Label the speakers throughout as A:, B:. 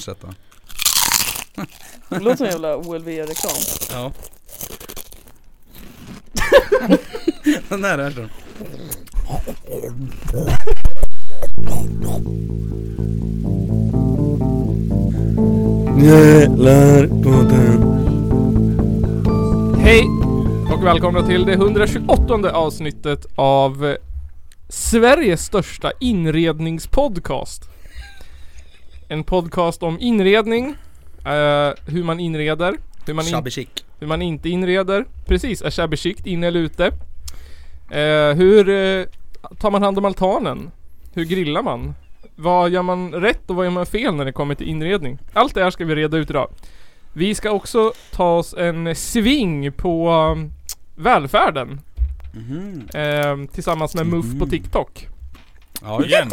A: fortsätta.
B: Det låter som en jävla OLV-reklam.
A: Ja. Den där är den.
C: Jälarpodden.
D: Hej och välkomna till det 128 avsnittet av eh, Sveriges största inredningspodcast. En podcast om inredning, eh, hur man inreder, hur man, in,
A: Shabby chic.
D: hur man inte inreder. Precis, är shabby chic inne eller ute? Eh, hur eh, tar man hand om altanen? Hur grillar man? Vad gör man rätt och vad gör man fel när det kommer till inredning? Allt det här ska vi reda ut idag. Vi ska också ta oss en sving på um, välfärden
A: Mhm.
D: eh, tillsammans med Muff på
A: Mhm.
D: TikTok.
A: Ja, just
E: Igen!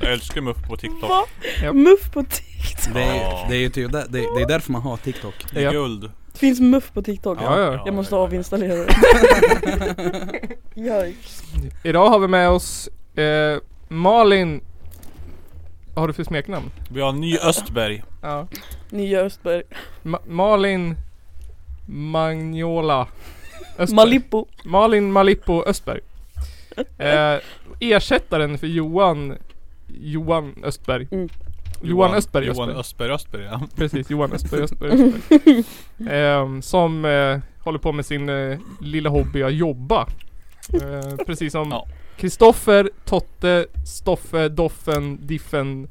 E: Jag älskar Muff på TikTok.
B: Va?
D: Japp.
B: Muff på TikTok?
A: det. Det är, det är ju typ det, det, det är därför man har TikTok.
E: Det är
D: Ja.
E: Guld.
B: Finns muff på TikTok?
D: Ja, ja.
B: Jag måste
E: ja, ja.
B: avinstallera det. Yikes.
D: Idag har vi med oss eh, Malin. Vad har du för smeknamn?
E: Vi har en ny Östberg.
D: Ja.
B: Nya Östberg.
D: Ma- Malin Magnola Östberg.
B: Malippo.
D: Malin Malippo Östberg. Eh, ersättaren för Johan Johan Östberg.
B: Mm.
D: Johan Östberg
E: Johan Östberg
D: Östberg.
E: Östberg ja.
D: Precis, Johan Östberg Östberg. Östberg. Ehm, som eh, håller på med sin eh, lilla hobby att jobba. Eh, precis som
E: Ja.
D: Kristoffer, Totte, Stoffe, Doffen, Diffen,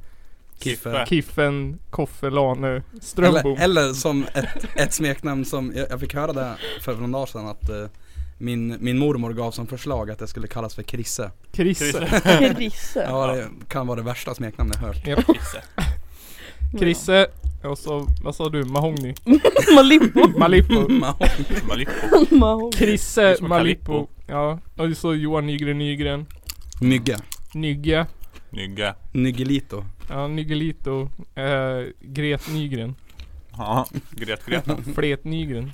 A: Kiffe.
D: Kiffen, Koffe, Lane, Strömbom.
A: Äh. Eller, eller som ett, ett smeknamn som, jag, jag fick höra det för några dagar sedan att eh, min, min mormor gav som förslag att jag skulle kallas för Krisse.
D: Krisse.
B: Krisse.
A: Ja, det kan vara det värsta smeknamnet jag hört.
D: Japp. Krisse. Och så, vad sa du? Mahogny?
B: Malippo.
D: Malippo.
E: Malippo.
B: Mahog.
E: Det är
D: Krisse,
E: som
D: Malippo.
E: Calippo.
D: Ja. Och så Johan Nygren Nygren.
A: Mygge.
D: Nygge.
E: Nygge.
A: Nyggelito.
D: Ja, Nyggelito. Eh, Gret Nygren.
E: Ja. Gret Greta.
D: Flet Nygren.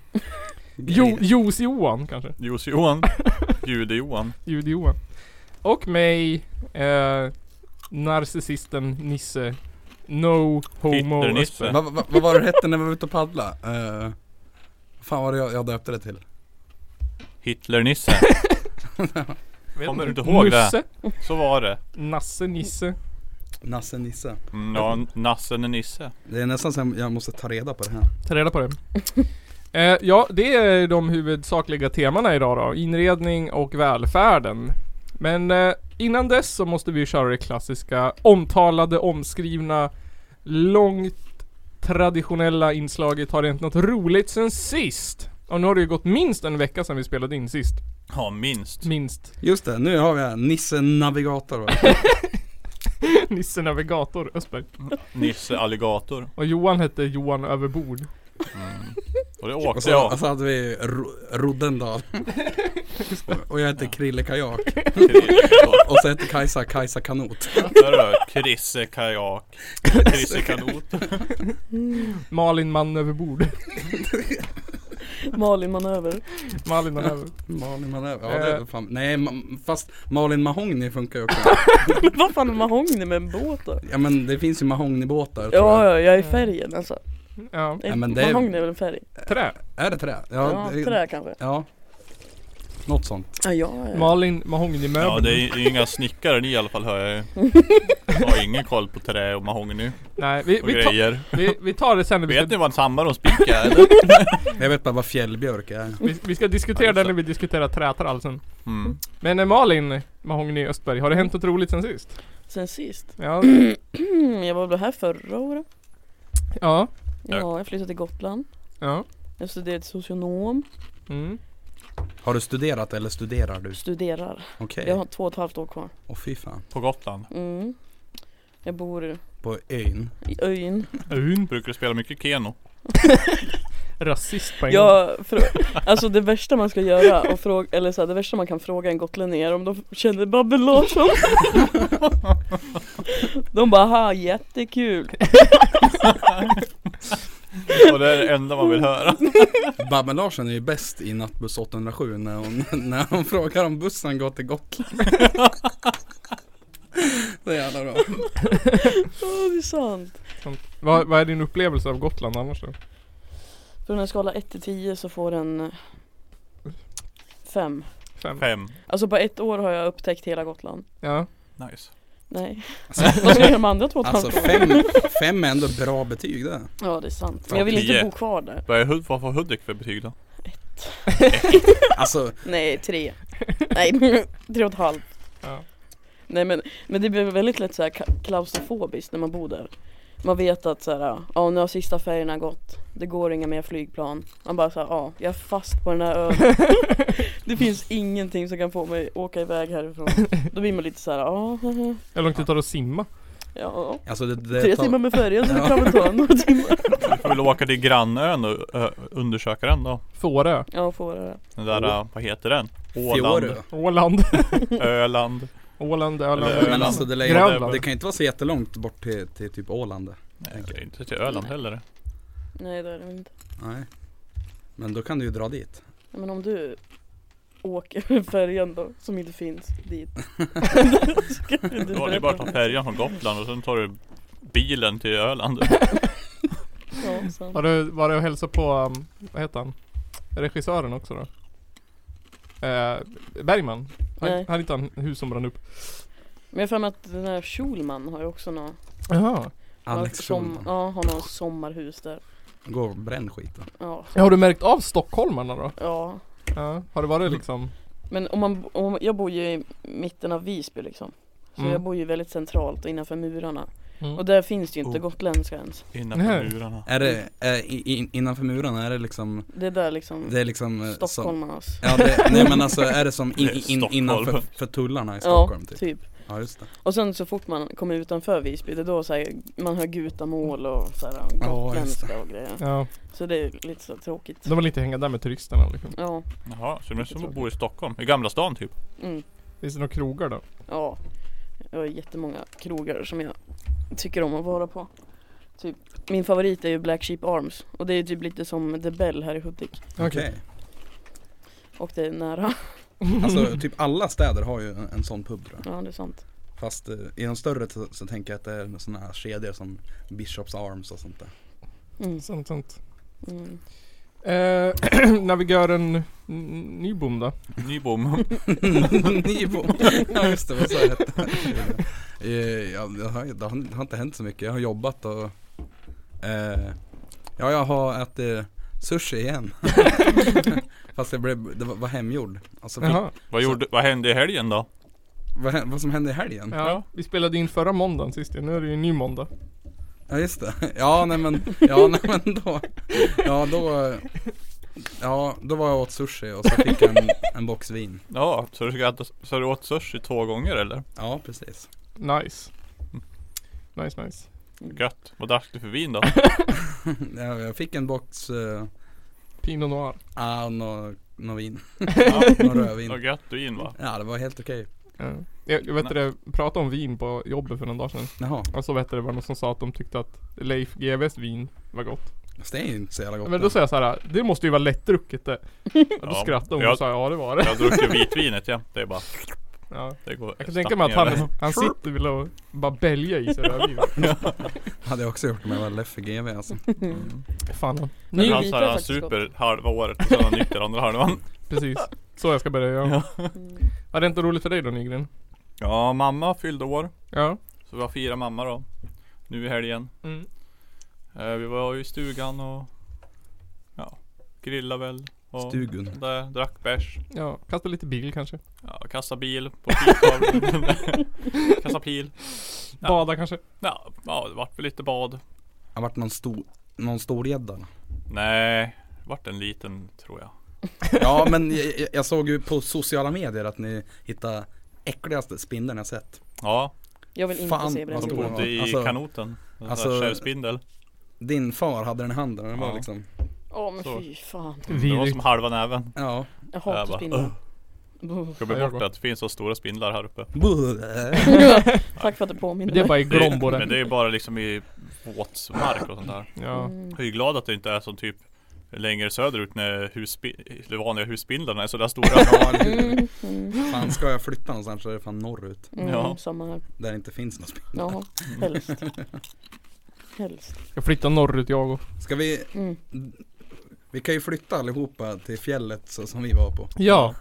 D: Jo, Jos Johan kanske.
E: Jos Johan. Jude Johan.
D: Jud Johan. Och mig. Eh, narcissisten Nisse. No homo.
E: Hitler-Nisse.
D: Östberg.
A: Vad va, vad var det hette när vi var ute och paddla? Uh, fan vad var det jag, jag döpte det till?
E: Hitler-Nisse.
D: Vet
E: Kommer
D: inte.
E: du inte ihåg det?
D: Nusse.
E: Så var det.
D: Nasse Nisse.
A: Nasse Nisse.
E: Mm, ja, Nassen är Nisse.
A: Det är nästan som jag måste ta reda på det här.
D: Ta reda på det. Eh, ja, det är de huvudsakliga temana idag då. Inredning och välfärden. Men eh, innan dess så måste vi ju köra det klassiska omtalade, omskrivna, långt traditionella inslaget Har det hänt något roligt sen sist? Och nu har det ju gått minst en vecka sedan vi spelade in sist.
E: Ja, minst.
D: Minst.
A: Just det, nu har vi här Nisse Navigator. va?
D: Nisse Navigator Östberg.
E: Nisse Alligator.
D: Och Johan hette Johan Överbord.
E: Mm. Och det
A: Och
E: åkte
A: så, och
E: jag.
A: så hade vi Ro- Roddendal. Och- och jag heter Krille Kajak. Och så heter Kajsa Kajsa Kanot.
E: Där har jag Krisse Kajak. Krisse Kanot.
D: Malin man överbord.
B: Malin manöver.
D: Malin man över.
A: Malin Manöver. Ja, det är väl fan. Nej, ma- fast Malin Mahogny funkar ju också.
B: Men Vad fan är mahogny med en båt då?
A: Ja men det finns ju mahognybåtar tror
B: Ja,
A: jag.
B: ja, jag är färgen alltså.
D: Ja,
A: Ja, men det är-
B: Mahogny är väl en färg?
D: trä.
A: Är det trä?
B: Ja,
A: det-
B: trä kanske.
A: Ja. Något sånt.
B: Ja, ja, ja.
D: Malin
E: Eh. Ja,
D: mahognymöbel.
E: det är ju- det är ju inga snickare ni i alla fall hör jag ju. Jag har ingen koll på trä och mahogny
D: Nej, vi,
E: och
D: vi, tar-
E: grejer.
D: Vi, vi tar det sen när vi
E: Vet ni
D: ska,
E: vad en hammare och en spik är eller?
A: Jag vet bara vad fjällbjörk är.
D: vi, vi ska
E: Ja,
D: diskutera
E: just
D: det
E: det.
D: när vi diskuterar trätrall sen.
E: Mm.
D: Men eh, Malin Mahogny Östberg, har det hänt något roligt sen sist?
B: Sen sist.
D: Ja,
B: Mm, jag var väl här förra året.
D: ja,
B: Ja, jag flyttade till Gotland.
D: ja.
B: Jag studerade till socionom.
D: Mm.
A: Har du studerat eller studerar du?
B: Studerar.
A: Okej.
B: Jag har två och ett halvt år kvar.
A: Åh fy fan.
E: På Gotland.
B: Mm. Jag bor
A: På ön.
B: i ön.
E: Brukar du spela mycket Keno?
D: Rasist på en gång.
B: Jag, frå- alltså det värsta man ska göra, och fråga, eller så här, det värsta man kan fråga en gotlänning är om de känner Babbel Larsson. de bara ha jättekul.
E: Och det är det enda man vill höra.
A: Babben Larsson är ju bäst i nattbuss 807 när hon, när hon frågar om bussen går till Gotland. Det så jävla bra.
B: Åh, det är sant.
D: Vad, vad är din upplevelse av Gotland annars då?
B: Från en skala 1 till 10 så får den 5.
D: Fem?
E: Fem.
B: Alltså på ett år har jag upptäckt hela Gotland.
D: Ja.
E: Nice.
B: Nej.
A: Alltså,
B: Vad ska jag göra med andra två och ett
A: Alltså
B: halvt år?
A: fem, fem är ändå bra betyg det.
B: Ja det är sant. Men
E: Fan,
B: jag vill inte
E: tio.
B: bo kvar där.
E: Vad är Hud- vad får Hudik för betyg då?
A: Alltså,
B: Nej, tre. Nej, tre och ett halvt.
D: ja.
B: Nej men, men det blir väldigt lätt såhär ka- klaustrofobiskt när man bor där Man vet att såhär, ja nu har sista färjorna gått Det går inga mer flygplan Man bara såhär, ja jag är fast på den här ön Det finns ingenting som kan få mig åka iväg härifrån Då blir man lite såhär, ja haha.
D: Hur långt det tar att simma?
B: Ja,
A: alltså det, det
B: tre
A: tar-
B: timmar med färjan så det
A: Ja.
B: kan väl ta några timmar
E: Du får väl åka till grannön och ö, undersöka den då.
D: Fårö?
B: Ja, får det
E: Den där,
A: Åh.
E: äh, vad heter den?
A: Fjorö.
E: Åland,
D: Åland?
E: Öland.
D: Åland, Öland,
E: Eller-
A: Men
D: Öland.
A: alltså det, lär ju-
D: Grönland.
A: det kan ju inte vara så jättelångt bort till, till typ Åland.
E: Nej, det är inte till Öland heller.
B: Nej det är det inte
A: Nej. Men då kan du ju dra dit.
B: Men om du åker med färjan då, som inte finns dit Ska du
E: Då är
B: berätta
E: det bara
B: för
E: att ta
B: mig?
E: färjan från Gotland och sen tar du bilen till Öland.
B: Ja, sant.
D: Har du varit och hälsat på, um, vad heter han? Regissören också då? Eh, Bergman? Han,
B: Nej.
D: han hittade en hus som brann upp.
B: Men jag har för mig att den här Schulman har ju också någon
D: Jaha.
A: Alex
B: Alltså, som,
A: Schulman.
B: Ja, har någon sommarhus där
A: Gå och bränn skiten.
B: Ja,
D: Har du märkt av stockholmarna då?
B: ja
D: Ja. Har det varit liksom?
B: Men om man, om, jag bor ju i mitten av Visby liksom Så
D: Mm.
B: jag bor ju väldigt centralt och innanför murarna
D: Mm.
B: Och där finns det ju inte
E: Oh.
B: gotländska ens
E: Innanför
D: Nej.
E: murarna.
A: Är det, eh, i- in, innanför murarna är det liksom,
B: Det är där liksom
A: det är liksom eh, som,
B: Stockholmarnas
A: Ja det, nej men alltså är det som in,
E: Det är
A: in,
E: Stockholm.
A: innanför för tullarna i Stockholm
B: Ja,
A: typ?
B: typ
A: Ja just det.
B: Och sen så fort man kommer utanför Visby Det är då så här, man hör gutamål och så här,
A: Ja, just det.
B: gotländska och grejer
D: Ja.
B: Så det är lite så här tråkigt
D: De vill inte hänga där med turisterna liksom.
B: Ja,
E: Jaha, så det är som att bo i Stockholm. I Gamla stan typ.
B: mm.
D: Finns det några krogar då?
B: Ja, jag har jättemånga krogar som jag tycker om att vara på. Typ, min favorit är ju Black Sheep Arms och det är ju typ lite som The Bell här i Hudik
A: Okej.
B: och det är nära.
A: Alltså typ alla städer har ju en, en sån pub tror jag.
B: Ja, det är sant.
A: Fast eh, i de större så, så tänker jag att det är sådana här kedjor som Bishops Arms och sånt där.
B: Mm,
D: Sånt, sånt.
B: mm.
D: Eh, navigören N- Nybom då?
E: Nybom.
A: Nybom. Ja just det, vad sa jag hette? Eh, ja, det, har, det har det har inte hänt så mycket. Jag har jobbat och eh, Ja jag har ätit eh, sushi igen. Fast det, blev, det var, var hemgjord. Alltså, fick,
D: Jaha.
E: Vad, gjorde, vad hände i helgen då?
A: vad, hä- vad som hände i helgen? Ja.
D: Ja. Vi spelade in förra måndagen sist ju. Nu är det ju en ny måndag.
A: just det. Ja nej men, ja nej men då. Ja då. Ja då var jag och åt sushi och så fick jag en, en box vin.
E: Ja, så du, ska äta, så du åt sushi två gånger eller?
A: Ja precis.
D: Nice.
A: Mm.
D: Nice nice.
E: Gött. Vad drack du för vin då?
A: Ja, Jag fick en box, eh,
D: Pinot noir.
A: ah, något nå vin.
E: Ja,
A: Någon rödvin.
E: vad gött vin va?
A: Ja det var helt okej.
D: Ja. Jag, jag vet inte, det, pratade om vin på jobbet för någon dag sedan.
A: Jaha,
D: Och så vet jag, det var någon som sa att de tyckte att Leif GWs vin var gott.
A: fast det är ju inte så jävla gott.
D: Men då sa jag så här, det måste ju vara lättdrucket det. Och då
E: Ja.
D: skrattade hon
E: Ja.
D: och sa ja det var det.
E: Jag drack ju vitvinet ja. Det är bara,
D: Ja.
E: det går
D: Jag kan tänka mig att han, han sitter väl och bara bälgar i sig rödvin.
A: Hade jag också gjort om jag var Leffe GV alltså.
D: Fan
E: Mm. Men
D: han.
B: Mm. Ny
E: han
B: vit
E: så
B: är
E: här, han
B: faktiskt
E: super halva året och sen han nykter andra halvan.
D: Precis. Så jag ska börja göra.
B: Mm.
D: Var det inte roligt för dig då Nygren?
E: Ja, mamma fyllde år.
D: Ja.
E: Så vi har firat mamma då. Nu i helgen.
D: Mm.
E: Eh, vi var ju i stugan och ja, grillade väl. Och
A: Stugun.
E: Där, drack bärs.
D: Ja, kasta lite bil kanske.
E: Ja, kastade bil på piltavlan. kastade pil. Ja.
D: Bada kanske.
E: Ja, ja, det vart väl lite bad.
A: Har varit någon stor, någon stor gädda.
E: Nej, det vart en liten tror jag.
A: Ja men jag, jag- jag såg ju på sociala medier att ni hittade äckligaste spindeln jag sett.
E: Ja,
B: Jag vill inte
A: Fan,
B: se
A: vad
E: som
A: stor.
B: brännvin.
E: bodde i
A: Alltså-
E: kanoten. En
A: alltså-
E: alltså, Självspindel.
A: Din far hade den i handen och den var
E: Ja.
A: liksom,
B: Åh men
E: Så.
B: fy fan.
E: Det var som halva näven.
A: ja.
B: Jag
E: Jag
B: hatar
E: bara,
B: spindlar.
E: Jag glömmer
D: Ja, jag
E: bort
D: går.
E: att det finns så stora spindlar här uppe.
A: Buh.
E: äh.
B: Tack för att du påminner
D: Det är
B: mig.
D: bara i Glombo
E: Men det
D: det.
E: är bara liksom i våtsmark och sånt där.
D: Ja.
B: Mm.
E: Jag är ju glad att det inte är som typ längre söderut när husbi- de vanliga husbilarna är sådär stora.
A: Ja, eller hur?
B: Mm, mm,
A: Fan ska jag flytta någonstans så är det fan norrut.
B: mm,
E: Ja.
B: Samma här.
A: Där det inte finns något spel.
B: Ja, helst. Helst.
D: Jag flyttar norrut jag och.
A: Ska vi,
B: Mm.
A: vi kan ju flytta allihopa till fjället så som vi var på.
D: Ja.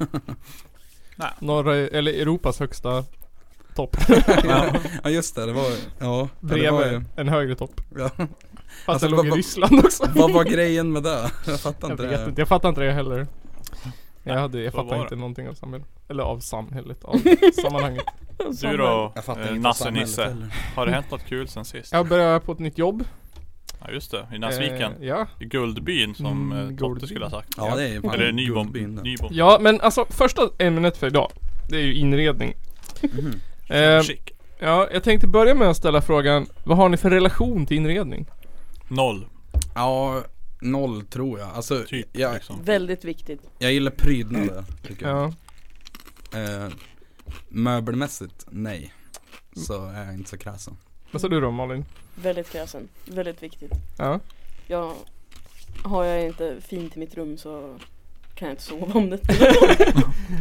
E: Nej.
D: Norra, eller Europas högsta topp.
A: Ja just det, det var ja. Ja, det var
D: Bredvid
A: ju-
D: en högre topp.
A: ja.
D: Fast
A: Alltså,
D: den låg
A: vad-
D: i Ryssland också.
A: Vad var grejen med det? Jag fattar
D: Jag
A: inte
D: vet
A: det.
D: inte, jag fattar inte det heller. Jag, hade, jag
E: vad var
D: fattar
E: det?
D: inte någonting av samhället. Eller av samhället, av sammanhanget.
E: Du då
A: Jag fattar
E: eh,
A: inte
E: Nasse
A: samhället
E: Nisse,
A: heller.
E: har det hänt något kul sen sist?
D: Jag börjar på ett nytt jobb.
E: Ja just det, i Näsviken.
D: Eh, ja.
E: I Guldbyn som
D: Mm,
E: eh, Totte
D: Guldbyn.
E: skulle ha sagt.
A: Ja det är ju fan
E: Eller Nybom.
A: guldbyn där.
E: Nybom.
D: ja, men alltså första ämnet för idag. Det är ju inredning.
A: Mhm.
D: Eh,
E: Chic.
D: ja, jag tänkte börja med att ställa frågan. Vad har ni för relation till inredning?
E: Noll.
A: Ja, noll tror jag. Alltså
E: Typ
A: jag,
E: liksom.
B: Väldigt viktigt.
A: jag gillar prydnader tycker jag.
D: Ja.
A: Eh, möbelmässigt, nej. Så är jag inte så kräsen.
D: Vad sa du då Malin?
B: Väldigt kräsen. Väldigt viktigt.
D: Ja.
B: Jag, har jag inte fint i mitt rum så kan jag inte sova om det.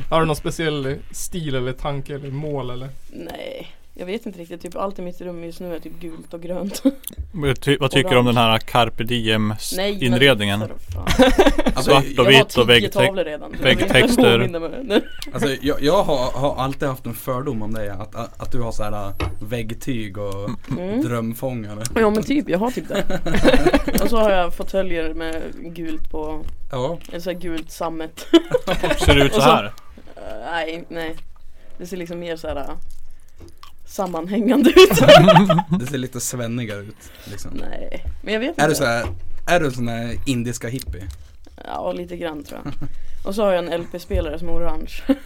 D: Har du någon speciell stil eller tanke eller mål eller?
B: Nej, jag vet inte riktigt. Typ allt i mitt rum just nu är typ gult och grönt.
E: Men ty- Vad tycker du om den här carpe diem s-
B: Nej, men-
E: inredningen?
B: För fan.
A: Alltså,
E: Svart
A: jag,
E: och
B: Jag har
E: vitt
B: tio
E: och väggteck.
B: tavlor redan.
E: väggtexter.
B: Jag vill inte påminna mig.
A: alltså, jag, jag har, har alltid haft en fördom om dig. Att, att, att du har så här äh, väggtyg och
B: Mm.
A: drömfångare.
B: Ja men typ, jag har typ det. och så har jag fåtöljer med gult på,
A: Ja,
B: eller så här gult sammet.
E: Ser det ut så
B: Och så-
E: här?
B: Eh, nej, nej. Det ser liksom mer så här eh, sammanhängande ut.
A: det ser lite svennigare ut. Liksom.
B: nej, men jag vet inte.
A: Är du så här, är du sån här indiska hippie?
B: Ja, lite grann tror jag. Och så har jag en LP-spelare som är orange.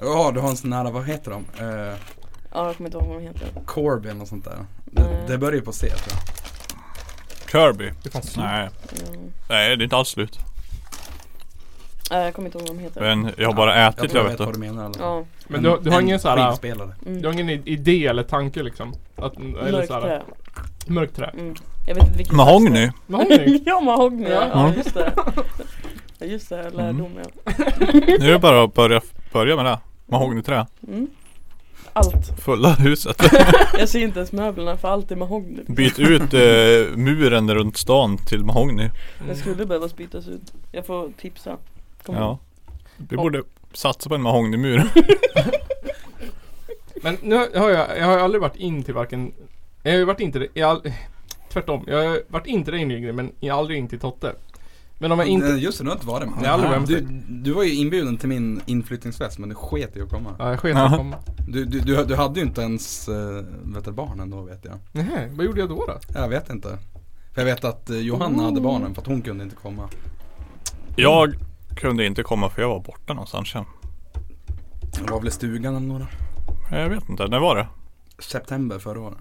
A: Ja, du har en sån här, vad heter de? Eh,
B: ja, jag kommer inte ihåg vad de heter.
A: Corbin och sånt där. Det,
B: Nej.
A: det börjar ju på C tror jag.
E: Kirby?
D: Det fanns
E: Nej.
B: Mm.
E: Nej det är inte alls slut.
B: Nej, jag kommer inte ihåg vad de heter.
E: Men jag har bara
A: Jag tror
E: ätit jag
A: jag
E: vet
A: vet
E: du.
A: vad du menar i alla fall.
B: Ja,
D: Men du, du har
A: En-
D: ingen
A: en
D: så här, äh,
A: Skivspelare.
B: mm.
D: du har ingen i- idé eller tanke liksom? Att, eller
B: mörkt
D: så här,
B: trä.
D: mörkt trä.
B: Mm. Jag vet inte vilken
E: Mahogny?
D: Men har ni?
B: ja, mahogny. Ja, ja
E: Mm.
B: just det. Ja, Just det, lärdom ja.
E: Nu är det bara att börja, börja med det. Mahognyträ.
B: Mm. Allt.
E: Fulla huset.
B: Jag ser inte ens möblerna för allt är mahogny.
E: Byt ut eh, muren runt stan till mahogny.
B: Den
D: Mm.
B: skulle behövas bytas ut. Jag får tipsa. Kom.
E: Ja. Vi borde satsa på en mahognymur.
D: Men nu har jag, jag har ju aldrig varit in till varken Jag har ju varit in till det, jag, har all- tvärtom. Jag har varit in till dig nyligen men jag har aldrig in till Totte. Men om jag inte,
A: Eh, Just det, du har inte varit med.
D: Jag har aldrig varit med.
A: du, du var ju inbjuden till min inflyttningsfest men du sket i att komma.
D: ja jag sket i
E: Jaha.
D: att komma.
A: Du, du, du, du hade ju inte ens äh, vet du, barnen då vet jag.
D: Nej, vad gjorde jag då då?
A: Jag vet inte. För jag vet att eh, Johanna hade barnen för att hon kunde inte komma.
E: Jag kunde inte komma för jag var borta någonstans sen.
A: Det var väl i stugan eller några.
E: Jag vet inte, när var det?
A: September förra året.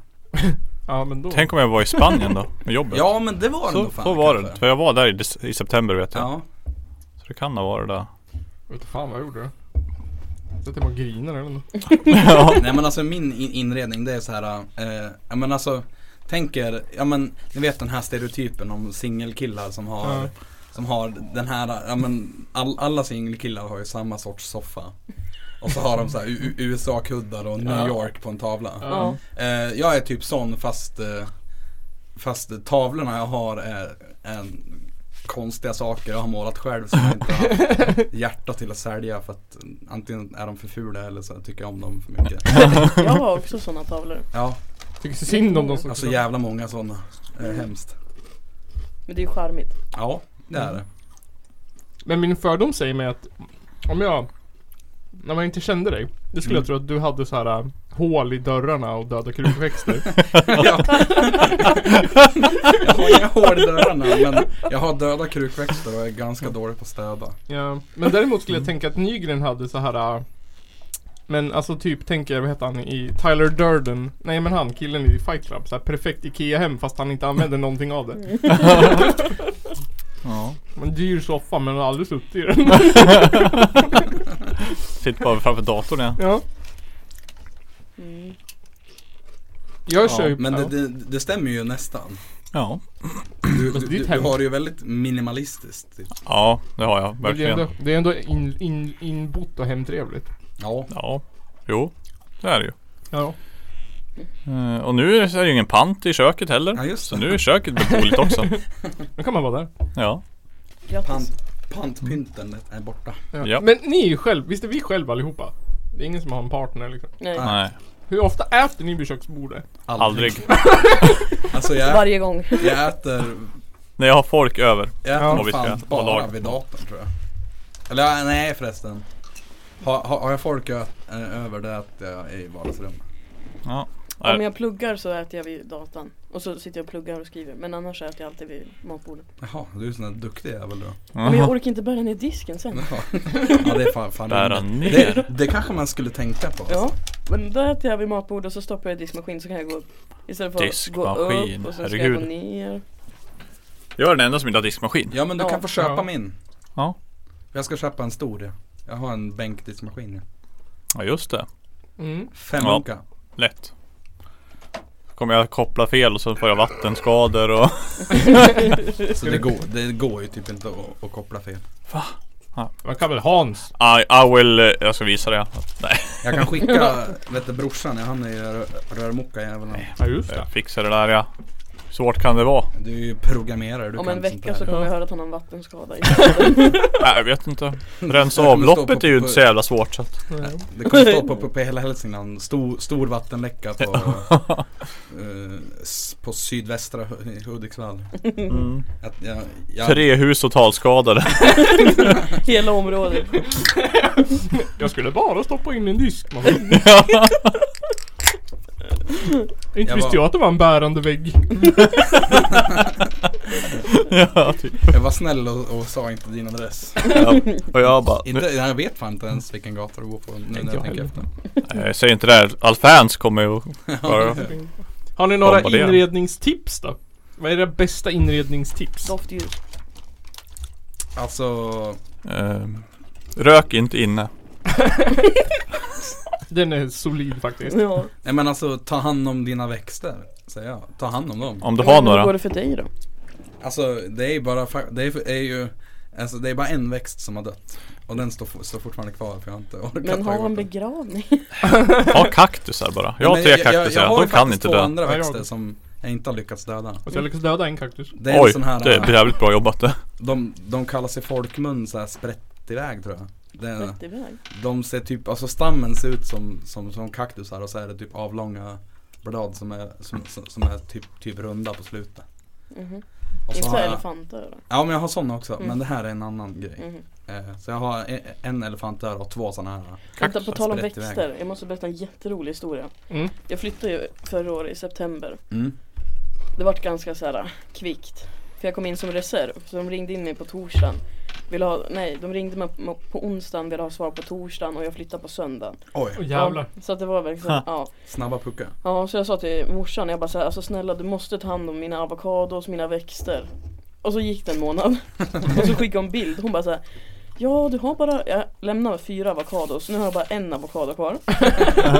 D: Ja men då.
E: Tänk om jag var i Spanien då med jobbet.
A: Ja men det var det
E: så,
A: nog fan.
E: så var det.
A: kanske.
E: För jag var där i, dec- i september vet jag.
A: Ja.
E: Så det kan ha varit det.
D: Jag vet fan vad jag gjorde då. Satt hemma och grinade eller något.
E: ja.
A: Nej men alltså min in- inredning det är så här, eh, ja men alltså Tänker, ja men ni vet den här stereotypen om singelkillar som har
D: Ja.
A: Som har den här, ja men all, alla singelkillar har ju samma sorts soffa Och så har de så här U- U- USA-kuddar och New
D: Ja.
A: York på en tavla
B: Ja.
A: eh, Jag är typ sån fast eh, Fast tavlorna jag har är, är konstiga saker jag har målat själv som jag inte har haft hjärta till att sälja för att antingen är de för fula eller så tycker jag om dem för mycket
B: Jag har också sådana tavlor.
A: Ja,
D: Tycker så synd om de som
A: alltså jävla många sådana. Eh, hemskt.
B: Men det är ju charmigt.
A: Ja, det är det.
D: Men min fördom säger mig att om jag när man inte kände dig, då skulle jag tro att du hade så här äh, hål i dörrarna och döda krukväxter.
A: Ja. jag har inga hår i dörrarna men jag har döda krukväxter och är ganska dålig på att städa.
D: Ja, men däremot skulle jag tänka att Nygren hade så här. äh, Men alltså typ tänker jag, vad heter han i Tyler Durden? Nej men han, killen i Fight Club. Så här perfekt IKEA-hem fast han inte använder någonting av det.
E: ja.
D: En dyr soffa men han har aldrig suttit i den.
E: Sitter bara framför datorn ja.
D: ja.
B: Mm.
D: Jag
A: Ja,
D: kör ju...
A: men
D: ja.
A: det, det, det stämmer ju nästan.
E: Ja.
A: Du,
D: Fast
A: du,
D: ditt
A: du,
D: hem-
A: har det ju väldigt minimalistiskt. Typ.
E: Ja, det har jag.
D: Men Det är
E: Verkligen.
D: ändå, det är ändå in, in, inbott och hemtrevligt.
A: Ja.
E: Ja. Jo, det är det ju.
D: Ja.
E: Eh, Och nu är det ju ingen pant i köket heller.
A: Ja, just
E: Så
A: det.
E: nu är köket beboeligt också.
D: Då kan man vara där.
E: Ja.
B: Grattis.
A: Pant, pantpynten är borta.
D: Ja.
E: Ja.
D: Men ni är ju själv, visst är vi själva allihopa? Det är ingen som har en partner liksom.
B: Nej,
A: Ja.
E: Nej,
D: Hur ofta äter ni vid köksbordet?
E: aldrig.
A: Alltså jag,
B: varje gång.
A: jag äter,
E: När jag har folk över.
A: jag äter
D: Ja.
E: Och vi ska
A: fan
E: äta på
A: bara
E: lag.
A: vid datorn tror jag. Eller ja, nej förresten. Har, har, har jag folk ö, eh, över det att jag är i vardagsrummet?
E: Ja.
B: Om
E: Nej.
B: jag pluggar så äter jag vid datan. Och så sitter jag och pluggar och skriver. Men annars äter jag alltid vid matbordet.
A: Jaha, du är en sån där duktig jävel du.
B: Men jag
E: Mhm.
B: orkar inte bära ner disken sen.
A: Ja, ja det är fan, fan det,
E: Bära ner.
A: det kanske man skulle tänka på. alltså.
B: Ja, men då äter jag vid matbordet och så stoppar jag i diskmaskin så kan jag gå upp. Istället för att gå
E: Diskmaskin,
B: upp och sen ska
E: herregud.
B: jag gå ner.
E: Jag är den enda som inte har diskmaskin.
A: Ja men du
B: Ja.
A: kan få köpa
D: Ja.
A: min.
E: Ja.
A: Jag ska köpa en stor ja. Jag har en bänkdiskmaskin ja.
E: Ja just det.
D: Mm.
A: Fem
E: Ja.
A: unka.
E: Lätt. Kommer jag koppla fel och så får jag vattenskador och...
A: Så det går, det går ju typ inte att, att koppla fel.
D: Man kan väl Hans?
E: I, I will... eh, Jag ska visa det. Nej,
A: Jag kan skicka, vet du brorsan, han är ju rö- rörmokajäveln.
D: Ja just det.
E: jag fixar det där ja. Svårt kan det vara.
A: Du är ju programmerare, du
B: Om
A: kan
B: en
A: sånt
B: vecka
A: där.
B: så kommer
D: Ja.
B: jag höra att han har en vattenskada. i-
E: Nej, jag vet inte. Rensa
A: Det Mm. kommer stå på-
E: avloppet är ju inte så jävla svårt så att...
D: Ja.
A: Det kommer stå på, på, på hela Hälsingland, stor, stor vattenläcka på, eh, s- på sydvästra Hu- Hudiksvall.
E: Mm.
A: Att jag, jag,
E: Tre hus totalskadade.
A: Mm.
B: Hela området.
D: Jag skulle bara stoppa in en diskmaskin. Inte
A: Jag
D: visste
A: var-
D: jag att det var en bärande vägg.
E: ja, typ.
A: jag var snäll och, och sa inte din adress.
E: ja. Och jag bara...
A: Inte, jag vet fan inte ens vilken gata du bor på nu när
D: jag
A: jag tänker efter.
D: heller.
E: Nej, säg inte det här. All fans kommer ju... Bara,
D: Har ni några
E: Bombardera.
D: inredningstips då? Vad är era bästa inredningstips?
B: Doftljus.
A: Alltså,
E: ehm, rök inte inne.
D: Den är solid faktiskt.
B: Ja.
A: nej men alltså ta hand om dina växter. Säger jag. Ta hand om dem.
E: Om du har
B: Men Hur går
E: några.
B: det för dig då?
A: Alltså det är ju bara, fa- det är, är ju, alltså, det är bara en växt som har dött. Och den står, fo- står fortfarande kvar för jag har inte orkat
B: Men
A: ta
B: har
A: bort
B: han
A: den.
B: begravning?
E: Ha kaktusar bara. Jag har
A: Men
E: tre
A: Jag, jag
E: kaktusar.
A: har
E: De
A: ju
E: kan
A: faktiskt
E: inte
A: två
E: dö.
A: andra
D: Ja, jag
A: växter
D: också.
A: som jag inte har lyckats döda.
D: Och jag lyckades döda en kaktus.
A: Det är
E: Oj,
A: en sån här, eh,
E: Det är jävligt bra jobbat det.
A: de, de kallas i folkmun såhär sprätt iväg tror jag. Det,
B: Rätt iväg.
A: de ser typ, alltså stammen ser ut som, som, som kaktusar och så är det typ avlånga blad som är, som, som som är typ, typ runda på slutet.
B: Mhm.
A: Och så
B: Inte
A: har
B: så
A: jag,
B: elefanter då?
A: ja men jag har sådana också,
B: Mm.
A: men det här är en annan grej.
B: Mhm.
A: Eh, Så jag har en, en elefantdöd och två sådana här.
B: Vänta, på tal om
A: sprätt iväg.
B: växter. Jag måste berätta en jätterolig historia.
D: Mm.
B: Jag flyttade ju förra året i september.
A: Mm.
B: Det vart ganska så här äh, kvickt. För jag kom in som reserv. Så de ringde in mig på torsdagen. Ville ha, nej, de ringde mig på- på onsdagen, ville ha svar på torsdagen och jag flyttade på söndagen.
A: Oj,
D: Åh jävlar.
B: Ja, så att det var verkligen,
E: Ha.
B: ja.
A: snabba puckar.
B: Ja, så jag sa till morsan, jag bara så här, alltså snälla du måste ta hand om mina avokados, mina växter. Och så gick det en månad. Och så skickade hon bild, hon bara så här, Ja du har bara, jag lämnade fyra avokados, nu har jag bara en avokado kvar.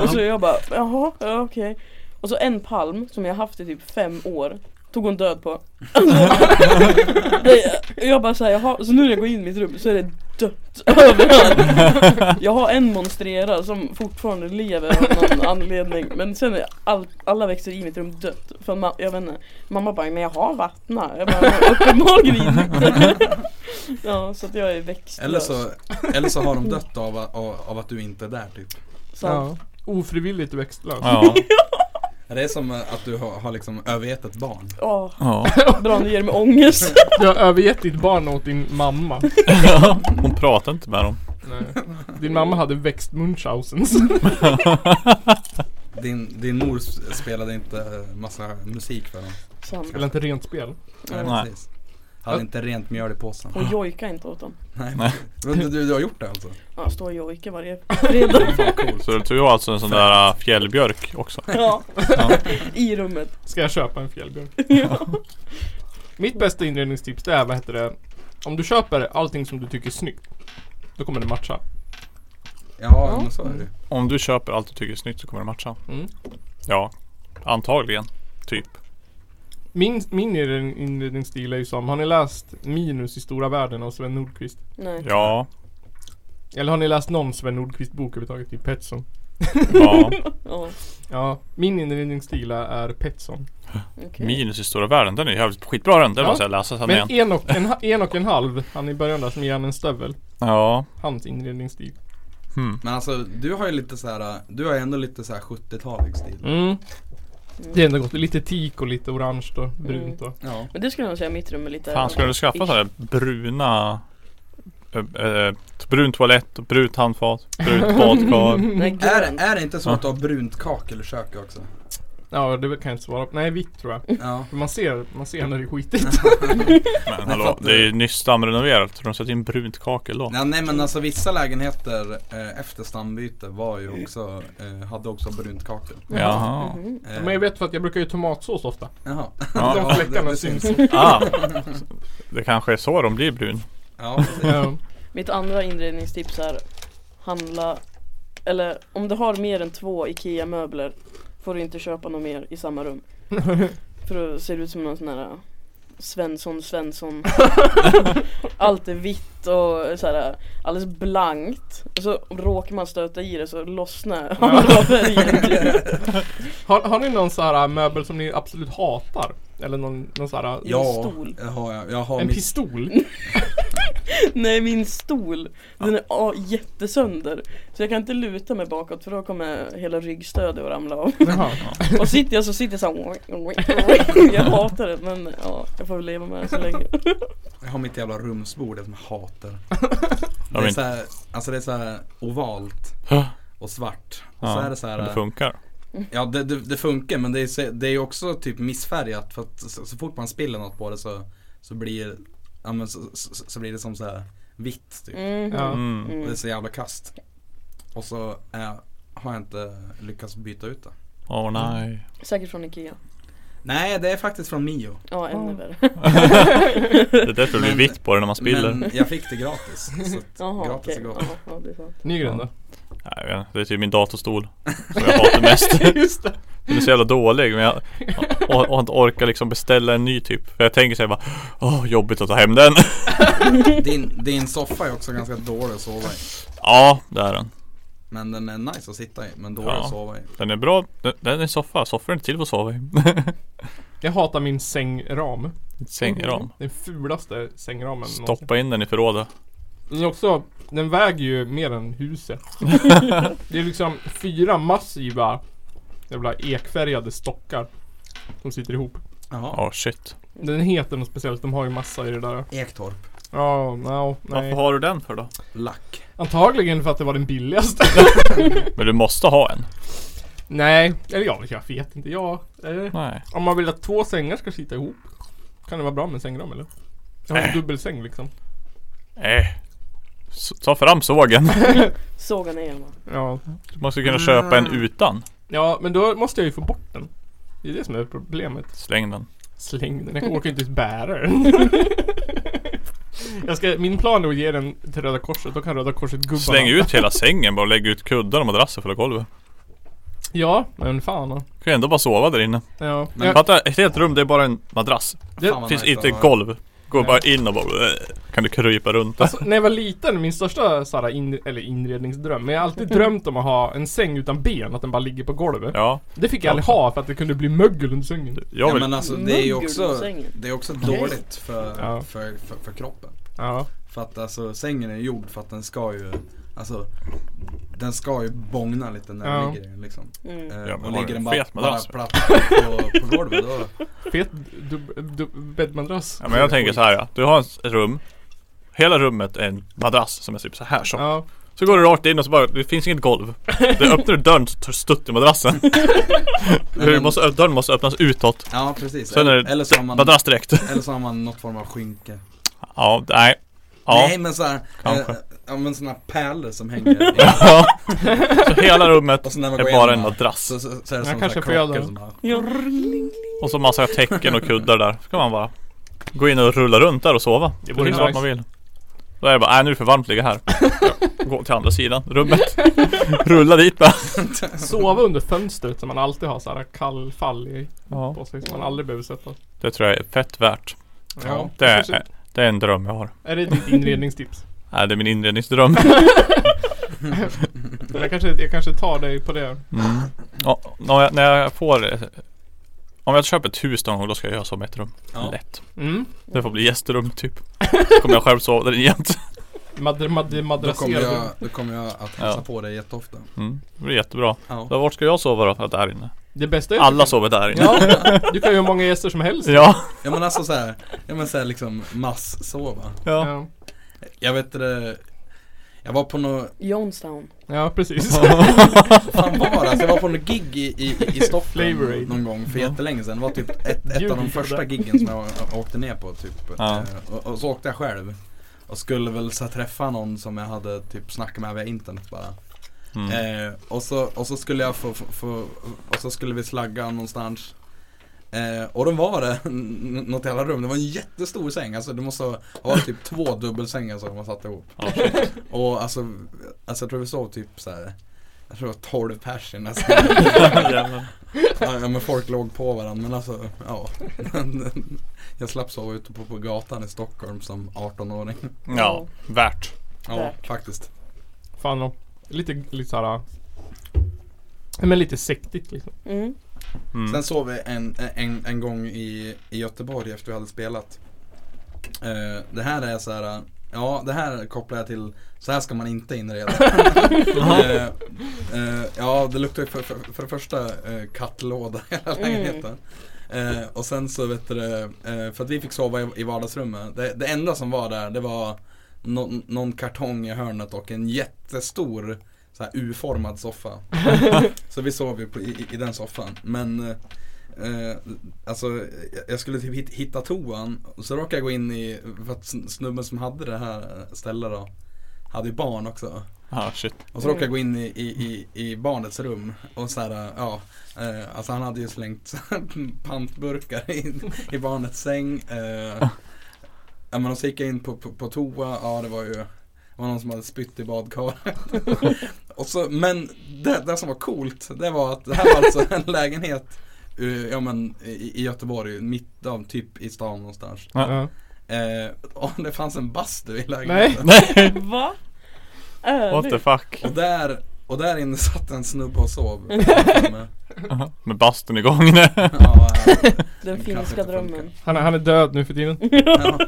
B: och så jag bara, jaha, ja, okej. Och så en palm som jag haft i typ fem år, tog hon död på. Det- jag bara såhär, jaha, så nu när jag går in i mitt rum så är det dött överallt. Jag har en monstrera som fortfarande lever av någon anledning Men sen är all, alla växter i mitt rum dött För ma- jag vet inte, mamma bara, men jag har vattnat Jag bara, "Men uppenbarligen inte Ja, så att jag är växtlös
A: Eller så, eller så har de dött av, av, av att du inte är där typ.
B: Så-
D: Ja. Ofrivilligt växtlös.
E: Ja.
A: Det är som eh, att du har, har liksom övergett ett barn.
B: åh,
E: ja.
B: bra nu ger det mig ångest
D: Du har övergett ditt barn åt din mamma.
E: Hon pratar inte med dem.
D: Nej. Din mamma hade växt Munchausens.
A: Din, din mor s- spelade inte eh, massa musik för dem.
B: Sant.
D: Eller inte rent spel.
B: Mm.
A: Nej,
E: Nej.
A: precis. Hade inte rent mjöl i påsen.
B: Och jojka inte åt dem
A: Nej.
E: Nej.
A: Men du, du, du har gjort det alltså?
B: Ja, stå och jojka varje fredag
A: Fan coolt.
E: Så du har alltså en sån där äh, fjällbjörk också?
B: Ja,
E: Ja.
B: i rummet
D: Ska jag köpa en fjällbjörk?
B: ja.
D: Mitt bästa inredningstips det är, vad heter det? Om du köper allting som du tycker är snyggt. Då kommer det matcha.
A: Ja, men så är det ju.
E: Om du köper allt du tycker är snyggt så kommer det matcha.
D: Mm.
E: Ja. Antagligen. Typ.
D: Min, min inred- inredningsstil är ju som, har ni läst Minus i stora världen av Sven Nordqvist?
B: Nej.
E: Ja,
D: Eller har ni läst någon Sven Nordqvist bok överhuvudtaget? i Petson.
E: ja.
B: Ja,
D: Ja, min inredningsstil är- är Petson.
B: okej.
E: Minus i stora världen, den är ju jävligt skitbra den. Den
D: Ja.
E: måste jag läsa sen igen.
D: Men en och en, ha- en och en halv, han i början där som ger han en stövel.
E: Ja.
D: Hans inredningsstil.
E: Hmm.
A: Men alltså du har ju lite så här. eh, du har ju ändå lite så här 70-talig stil.
D: Mm. Det är ändå gott. Lite teak och lite orange och brunt och...
A: Ja.
B: Men det skulle jag nog säga mitt rum är lite
E: Fan, skulle du skaffa sådana där bruna... Äh, äh, brun toalett, och brunt handfat, brunt badkar.
B: Nej
A: Är,
B: grönt
A: är det inte så att du har brunt kakel i köket också?
D: Ja, det kan jag inte svara på. Nej, vitt tror jag.
A: Ja.
D: För man ser, man ser när det är skitigt.
E: Men hallå, det är ju nyss stamrenoverat. Tror de sätter in brunt kakel då?
A: Nej, nej men alltså vissa lägenheter eh, efter stambyte var ju också, eh, hade också brunt kakel.
E: Jaha.
B: Mhm.
A: Eh,
D: Men jag vet för att jag brukar ju tomatsås ofta.
A: Jaha.
D: De
E: Ja.
D: fläckarna
A: det
D: syns.
E: Ah. Det kanske är så de blir brun.
A: Ja, precis.
D: Ja.
B: Mitt andra inredningstips är Handla Eller om du har mer än två IKEA möbler Får du inte köpa något mer i samma rum För då ser det ut som någon sån här äh, Svensson Svensson Allt är vitt och så här äh, alldeles blankt Och så råkar man stöta i det så lossnar alla färger typ.
D: Har, har ni någon sån här äh, möbel som ni absolut hatar? Eller någon, någon sån här... äh,
A: Ja,
B: stol.
A: jag har, jag, jag har
D: En
A: mitt-
D: pistol?
B: Nej min stol Den är ja, jättesönder Så jag kan inte luta mig bakåt för då kommer hela ryggstödet att ramla av
D: Jaha.
B: Och sitter jag så sitter jag såhär Jag hatar det men ja, jag får väl leva med det så länge
A: Jag har mitt jävla rumsbord som jag hatar. Det
E: De
A: är
E: är inte,
A: såhär, alltså det är såhär ovalt och svart. Och så
E: Ja,
A: är det såhär,
E: men det funkar.
A: ja det, det, det funkar men det är, så- det är ju också typ missfärgat för att så, så fort man spiller något på det så, så blir, ja men så, så, så blir det som såhär vitt typ.
B: mm.
D: Ja.
E: Mm.
A: Och
B: Mm.
A: det är så jävla kast. Och så eh, har jag inte lyckats byta ut det.
E: Åh nej.
B: Säkert från Ikea
A: Nej det är faktiskt från Mio.
B: Ja, ännu värre
E: Det är därför det blir
A: Men-
E: vitt på det när man spiller.
A: Men jag fick det gratis. Så att
B: Jaha
A: gratis
B: okej,
A: är gott.
B: ja, ja det är sant
D: Nygren då?
E: Nej, jag vet inte. det är typ min datorstol som jag hatar mest.
D: Just det.
E: Den är så jävla dålig men jag och, och inte orkar liksom beställa en ny typ. För jag tänker såhär bara Åh, jobbigt att ta hem den.
A: Din, din soffa är också ganska dålig att sova i.
E: ja, det är den.
A: Men den är nice att sitta i, men dålig
E: Ja.
A: att sova i.
E: Den är bra. Den, den är soffa. Soffor är inte till för att sova i.
D: Jag hatar min sängram.
E: Ett Sängram.
D: Den fulaste sängramen någonsin.
E: Stoppa in den i förrådet.
D: Den är också, den väger ju mer än huset. det är liksom fyra massiva jävla ekfärgade stockar. Som sitter ihop.
A: Jaha.
E: Ja, shit.
D: Den heter något speciellt, de har ju massa i det där.
A: Ektorp.
D: Ja, no,
E: Varför
D: nej.
E: har du den för då?
A: Lack.
D: Antagligen för att det var den billigaste.
E: Men du måste ha en.
D: nej, eller jag, jag vet inte. Ja, eh,
E: Nej.
D: om man vill att två sängar ska sitta ihop. Kan det vara bra med en sängram eller? Jag har en
E: Äh.
D: dubbelsäng liksom.
E: Eh. S- Ta fram sågen.
B: Såg han igen va?
D: Ja.
E: Du måste kunna köpa en utan.
D: ja, men då måste jag ju få bort den. Det är det som är problemet.
E: Släng den.
D: Släng den, jag orkar inte ens bära den. jag ska, min plan är att ge den till Röda Korset, då kan Röda Korset gubbarna
E: Släng ut hela sängen bara och lägg ut kuddar och madrasser för hela golvet.
D: Ja, men fan.
E: Du kan ju ändå bara sova där inne.
D: Ja.
A: Men
D: ja,
E: Fatta, ett helt rum det är bara en madrass.
D: det,
A: Fan vad
E: Det finns
A: nice
E: inte
A: att ha.
E: golv. Gå
D: Nej.
E: bara in och bara eh, Kan du krypa runt där?
D: alltså, när jag var liten, min största så här, in, eller inredningsdröm, men jag har alltid drömt om att ha en säng utan ben, att den bara ligger på golvet.
E: Ja,
D: Det fick jag aldrig ha för att det kunde bli mögel under sängen.
E: jag
A: Ja,
E: vill...
A: men alltså det är ju
B: Mögel i
A: också,
B: sängen.
A: det är också dåligt för,
D: Ja.
A: för, för, för kroppen.
D: Ja.
A: För att alltså sängen är gjord för att den ska ju, alltså den ska ju bångna lite när
D: Ja.
A: den ligger i den, liksom.
B: Mm.
A: Eh,
E: Ja, men
A: och
E: har du
A: ligger den
E: en
A: bara,
E: fet
A: bara
E: madrass?
A: platt på, på golvet då.
D: Fet dub- dub- bäddmadrass.
E: Ja, men jag tänker så här. Ja. Du har ett rum. Hela rummet är en madrass som är typ så här tjock.
D: Ja.
E: Så går du rakt in och så bara, det finns inget golv. Du öppnar dörren så tar stutt i madrassen. Du måste, ö- dörren måste öppnas utåt.
A: Ja precis.
E: Sen är
A: Eller,
E: det
A: eller, så har man,
E: madrass direkt.
A: eller så har man något form av skynke.
E: Ja, nej. Ja.
A: Nej men såhär,
E: Kanske.
A: eh, ja men sådana pärlor som hänger. i-
E: Ja. Så hela rummet
A: Och så när man går
E: är bara en
A: igenom här,
E: madrass.
A: Så, så, så är det
D: Jag
A: som
D: kanske
A: kanske
D: får göra
A: klockor
D: det.
A: som bara
B: Ja,
E: Och så massa tecken och kuddar där. Så kan man bara gå in och rulla runt där och sova.
D: Det
E: Det
D: vore
E: Precis vad
D: nice.
E: man vill. Då är det bara, nej nu är det för varmt att ligga här. Ja, Gå till andra sidan rummet. Rulla dit bara.
D: Sova under fönstret så man alltid har så här kall fall i,
E: Ja.
D: på sig som man aldrig behöver sätta.
E: Det tror jag är fett värt.
D: Ja,
E: Det
D: kanske-
E: är, det är en dröm jag har.
D: Är det ditt inredningstips?
E: Nej, det är min inredningsdröm.
D: jag, kanske, jag kanske tar dig på det.
E: Mm. Ja, när, jag, när jag får eh, Om jag köper ett hus någon gång då ska jag göra så med ett rum.
A: Ja.
E: Lätt.
D: Mm.
E: Det får bli gästrum typ. Kommer jag själv sova där i jämt.
D: Madre, madre,
A: Då kommer,
D: madrasserad.
A: jag, då kommer jag att hälsa
E: Ja.
A: på dig jätteofta.
E: Mm. Det blir jättebra.
A: Ja.
E: Så vart ska jag sova då? Ja, Där inne.
D: Det bästa är
E: Alla sover där inne.
D: Ja, du kan ju ha många gäster som helst.
E: Ja.
A: ja men alltså såhär, ja men såhär liksom mass-sova.
E: ja.
D: Ja,
A: Jag vet det, jag var på något,
B: Jonestown.
D: ja precis.
A: fan var det? Alltså, jag var på något gig i, i, i
D: Flavor
A: Stockholm
D: Aid.
A: någon gång för jättelänge sedan. Det var typ ett, ett av de
D: Ljug
A: första
D: där.
A: giggen som jag å- åkte ner på typ.
E: Ja.
A: Eh, Och, och så åkte jag själv. Och skulle väl så här, träffa någon som jag hade typ snackat med via internet bara.
E: Mm.
A: Eh, och, så, och så skulle jag få, få, få och så skulle vi slagga någonstans eh, Och då var det n- något jävla rum, det var en jättestor säng Alltså det måste ha varit typ två dubbelsängar som man satte ihop
E: Ja, shit.
A: Och alltså, alltså jag tror vi sov typ så här. Jag tror det var 12 pers i den här
E: Jävlar.
A: Ja men folk låg på varandra men alltså, ja Jag slapp sova ute på, på gatan i Stockholm som 18-åring
E: ja, värt.
A: Ja,
B: Värt.
A: faktiskt
D: Fan och lite, lite såhär men lite sektigt liksom.
B: Mm.
E: Mm.
A: Sen sov vi en, en, en gång i, i Göteborg efter vi hade spelat. Eh, det här är så här, ja det här kopplar jag till, så här ska man inte inreda. Eh, eh, ja det luktar ju för, för, för det första eh, kattlåda i hela lägenheten. Eh, och sen så vet du det, eh, för att vi fick sova i, i vardagsrummet. Det, det enda som var där det var nå- någon kartong i hörnet och en jättestor så här U-formad soffa. Så vi sov ju på, i, i- i den soffan. Men eh, eh, alltså jag- jag skulle typ hit- hitta toan. Och Så råkade jag gå in i, för att sn- snubben som hade det här stället då, hade ju barn också.
E: Ja, Ah, shit.
A: Och så råkade jag gå in i, i, i, i barnets rum och så här, ja, eh, alltså han hade ju slängt pantburkar i, i barnets säng. Eh, ja men och så gick jag in på, på, på toa, ja det var ju, det var någon som hade spytt i badkaret. och så, men det, det som var coolt, det var att det här var alltså en lägenhet eh, Ja men i i Göteborg, mitt av typ i stan någonstans.
E: Ja.
D: Ja.
A: Eh, och det fanns en bastu i lägenheten.
E: Nej,
B: Va?
E: what the fuck.
A: Och där, och där inne satt en snubbe och sov. ja,
E: Aha. Med bastun igång nu.
A: ja.
B: Den
A: Den
B: finska
A: kanske inte
B: drömmen.
D: Han, är- han är död nu för tiden.
A: ja.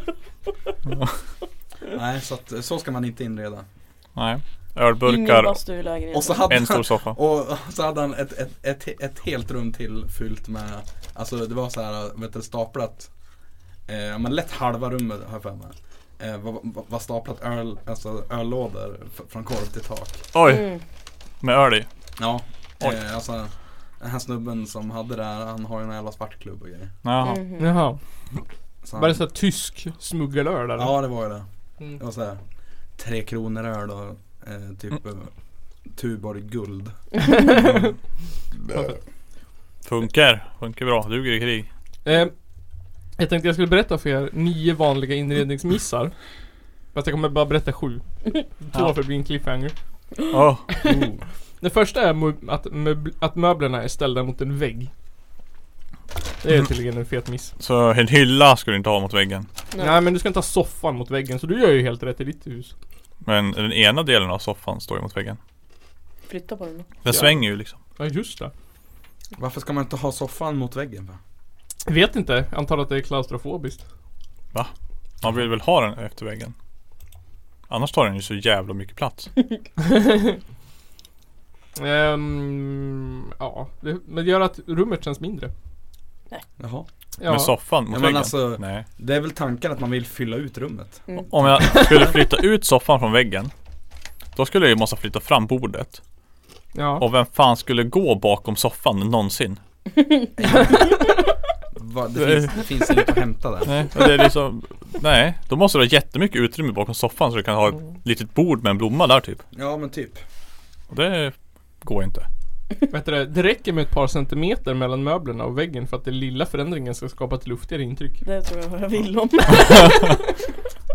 A: Nej, så, att, så ska man inte inreda.
E: Nej.
B: Ingen
E: Ölburkar,
B: bastu i lägenheten.
A: Och så hade,
E: en stor soffa.
A: och så hade han ett, ett, ett, ett helt rum till fyllt med, alltså det var så här, vet du, staplat, eh, men lätt halva rummet har jag för mig. Eh, var, var- var staplat öl, alltså öllådor f- från korv till tak.
E: Oj,
B: Mm.
E: med öl i.
A: Ja,
E: Oj.
A: eh, alltså den här snubben som hade det här, han har ju en jävla svartklubb och grejer.
E: Jaha.
B: Mhm.
D: Jaha.
A: Så
D: Var det
A: han,
D: såhär tysk smuggelöl eller?
A: ja, det var ju det.
D: Mm.
A: Det var såhär, tre kronor öl och eh, typ eh, Tuborg guld.
D: Mm.
E: Mm. Funkar. Funkar bra. Duger i krig.
D: Eh, jag tänkte jag skulle berätta för er nio vanliga inredningsmissar. Fast jag kommer bara berätta sju. Två
E: Ja.
D: för det blir en cliffhanger.
E: Oh.
D: Det första är mö- att, möbl- att möblerna är ställda mot en vägg. Det är tydligen en fet miss.
E: Så en hylla ska du inte ha mot väggen.
B: Nej.
D: Nej. men du ska inte ha soffan mot väggen så du gör ju helt rätt i ditt hus.
E: Men den ena delen av soffan står ju mot väggen.
B: Flytta på den då.
E: Den
D: Ja.
E: svänger ju liksom.
D: Ja just det.
A: Varför ska man inte ha soffan mot väggen? För?
D: Jag vet inte, jag antar att det är klaustrofobiskt.
E: Man vill väl ha den efter väggen. Annars tar den ju så jävla mycket plats.
D: Ehm, ja, det, men det gör att rummet känns mindre.
A: Jaha.
D: Ja.
E: Med soffan mot
A: Ja, men
E: väggen.
A: alltså,
E: Nej.
A: det är väl tanken att man vill fylla ut rummet.
E: Om jag skulle flytta ut soffan från väggen. Då skulle jag ju måste flytta fram bordet.
D: ja.
E: Och vem fan skulle gå bakom soffan någonsin?
A: Va, det, finns, det finns inget att hämta där.
E: Nej, men det är liksom, nej, då måste du ha jättemycket utrymme bakom soffan så du kan ha
D: Mm.
E: ett litet bord med en blomma där typ.
A: Ja men typ.
E: Och det går inte.
D: Vet du det, det räcker med ett par centimeter mellan möblerna och väggen för att den lilla förändringen ska skapa ett luftigare intryck.
B: Det tror jag jag vill om.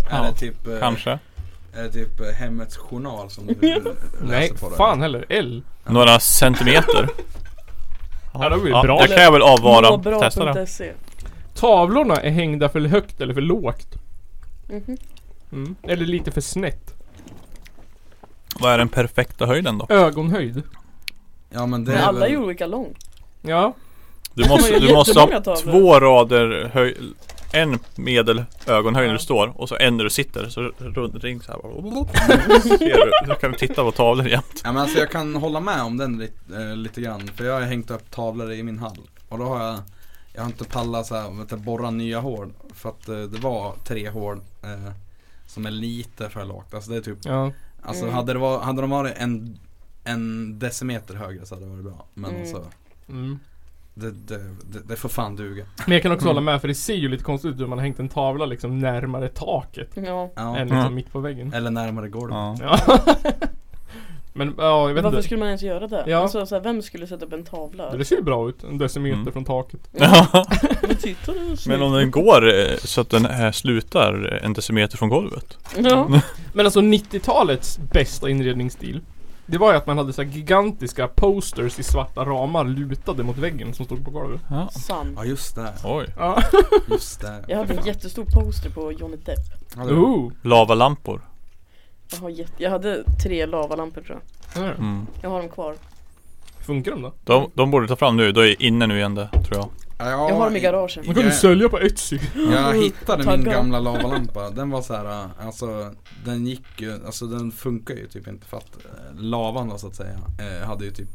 A: Är det typ eh,
E: Kanske.
A: Är det typ eh, Hemmets Journal som du läser
D: Nej,
A: på? då?
D: fan heller. L.
E: Några centimeter.
D: Ja, det blir bra.
E: Det kan jag väl avvara. Testa det.
B: Måbra.se
D: Tavlorna är hängda för högt eller för lågt.
B: Mhm.
D: Mm. Eller lite för snett.
E: Vad är den perfekta höjden då?
D: Ögonhöjd.
A: Ja men det
B: Men
A: är
B: alla
A: väl...
B: är olika lång
D: Ja.
E: Du måste,
B: har
E: du måste
B: jättemånga
E: ha
B: tavlor.
E: två rader höj... En medel ögonhöjd när du står och så en när du sitter. Så rund ring så här. Ser du? Nu kan du titta på tavlor igen.
A: Ja men alltså jag kan hålla med om den lite, eh, lite grann. För jag har hängt upp tavlor i min hall. Och då har jag Jag har inte pallat så här, vet du, borra nya hål. För att eh, det var tre hål eh, som är lite för lågt. Alltså det är typ
D: Ja.
A: Alltså
B: Mm.
A: hade, det var, hade de varit en, en decimeter högre så hade det varit bra. Men
B: Mm.
A: alltså
D: Mm.
A: det, det, det, det får fan duga.
D: Men jag kan också hålla med för det ser ju lite konstigt ut om man har hängt en tavla liksom närmare taket.
B: Ja
A: Ja.
D: Än liksom
E: Ja.
D: mitt på väggen.
A: Eller närmare golvet.
D: Ja. Men ja, jag vet
B: Varför
D: inte.
B: skulle man ens göra det?
D: Ja.
B: Alltså, så här, vem skulle sätta upp en tavla?
D: Det ser ju bra ut. En decimeter
E: Mm.
D: från taket.
E: Ja.
B: Men titta det är snyggt.
E: Men om den går eh, så att den här slutar en decimeter från golvet.
B: Ja,
D: Men alltså 90-talets bästa inredningsstil. Det var ju att man hade så här gigantiska posters i svarta ramar lutade mot väggen som stod på golvet.
E: Ja.
B: sant
A: Ja just det,
E: Oj.
D: Ja.
A: just det.
B: Jag hade en jättestor poster på Johnny Depp
A: Ja, det-
D: Oh.
E: Lavalampor.
B: Jag, har jätte... jag hade tre lavalampor tror jag
D: Där.
E: Mm.
B: Jag har dem kvar
D: Funkar de då?
E: De, de borde ta fram nu, då är inne nu igen det tror jag.
A: Ja,
B: Jag har dem i garagen
D: Man kan ju
A: Jag-
D: sälja på Etsy.
A: Jag hittade min
B: Taggad.
A: gamla lavalampa, den var så här, äh, alltså den gick ju, alltså den funkar ju typ inte för att äh, lavan då så att säga äh, hade ju typ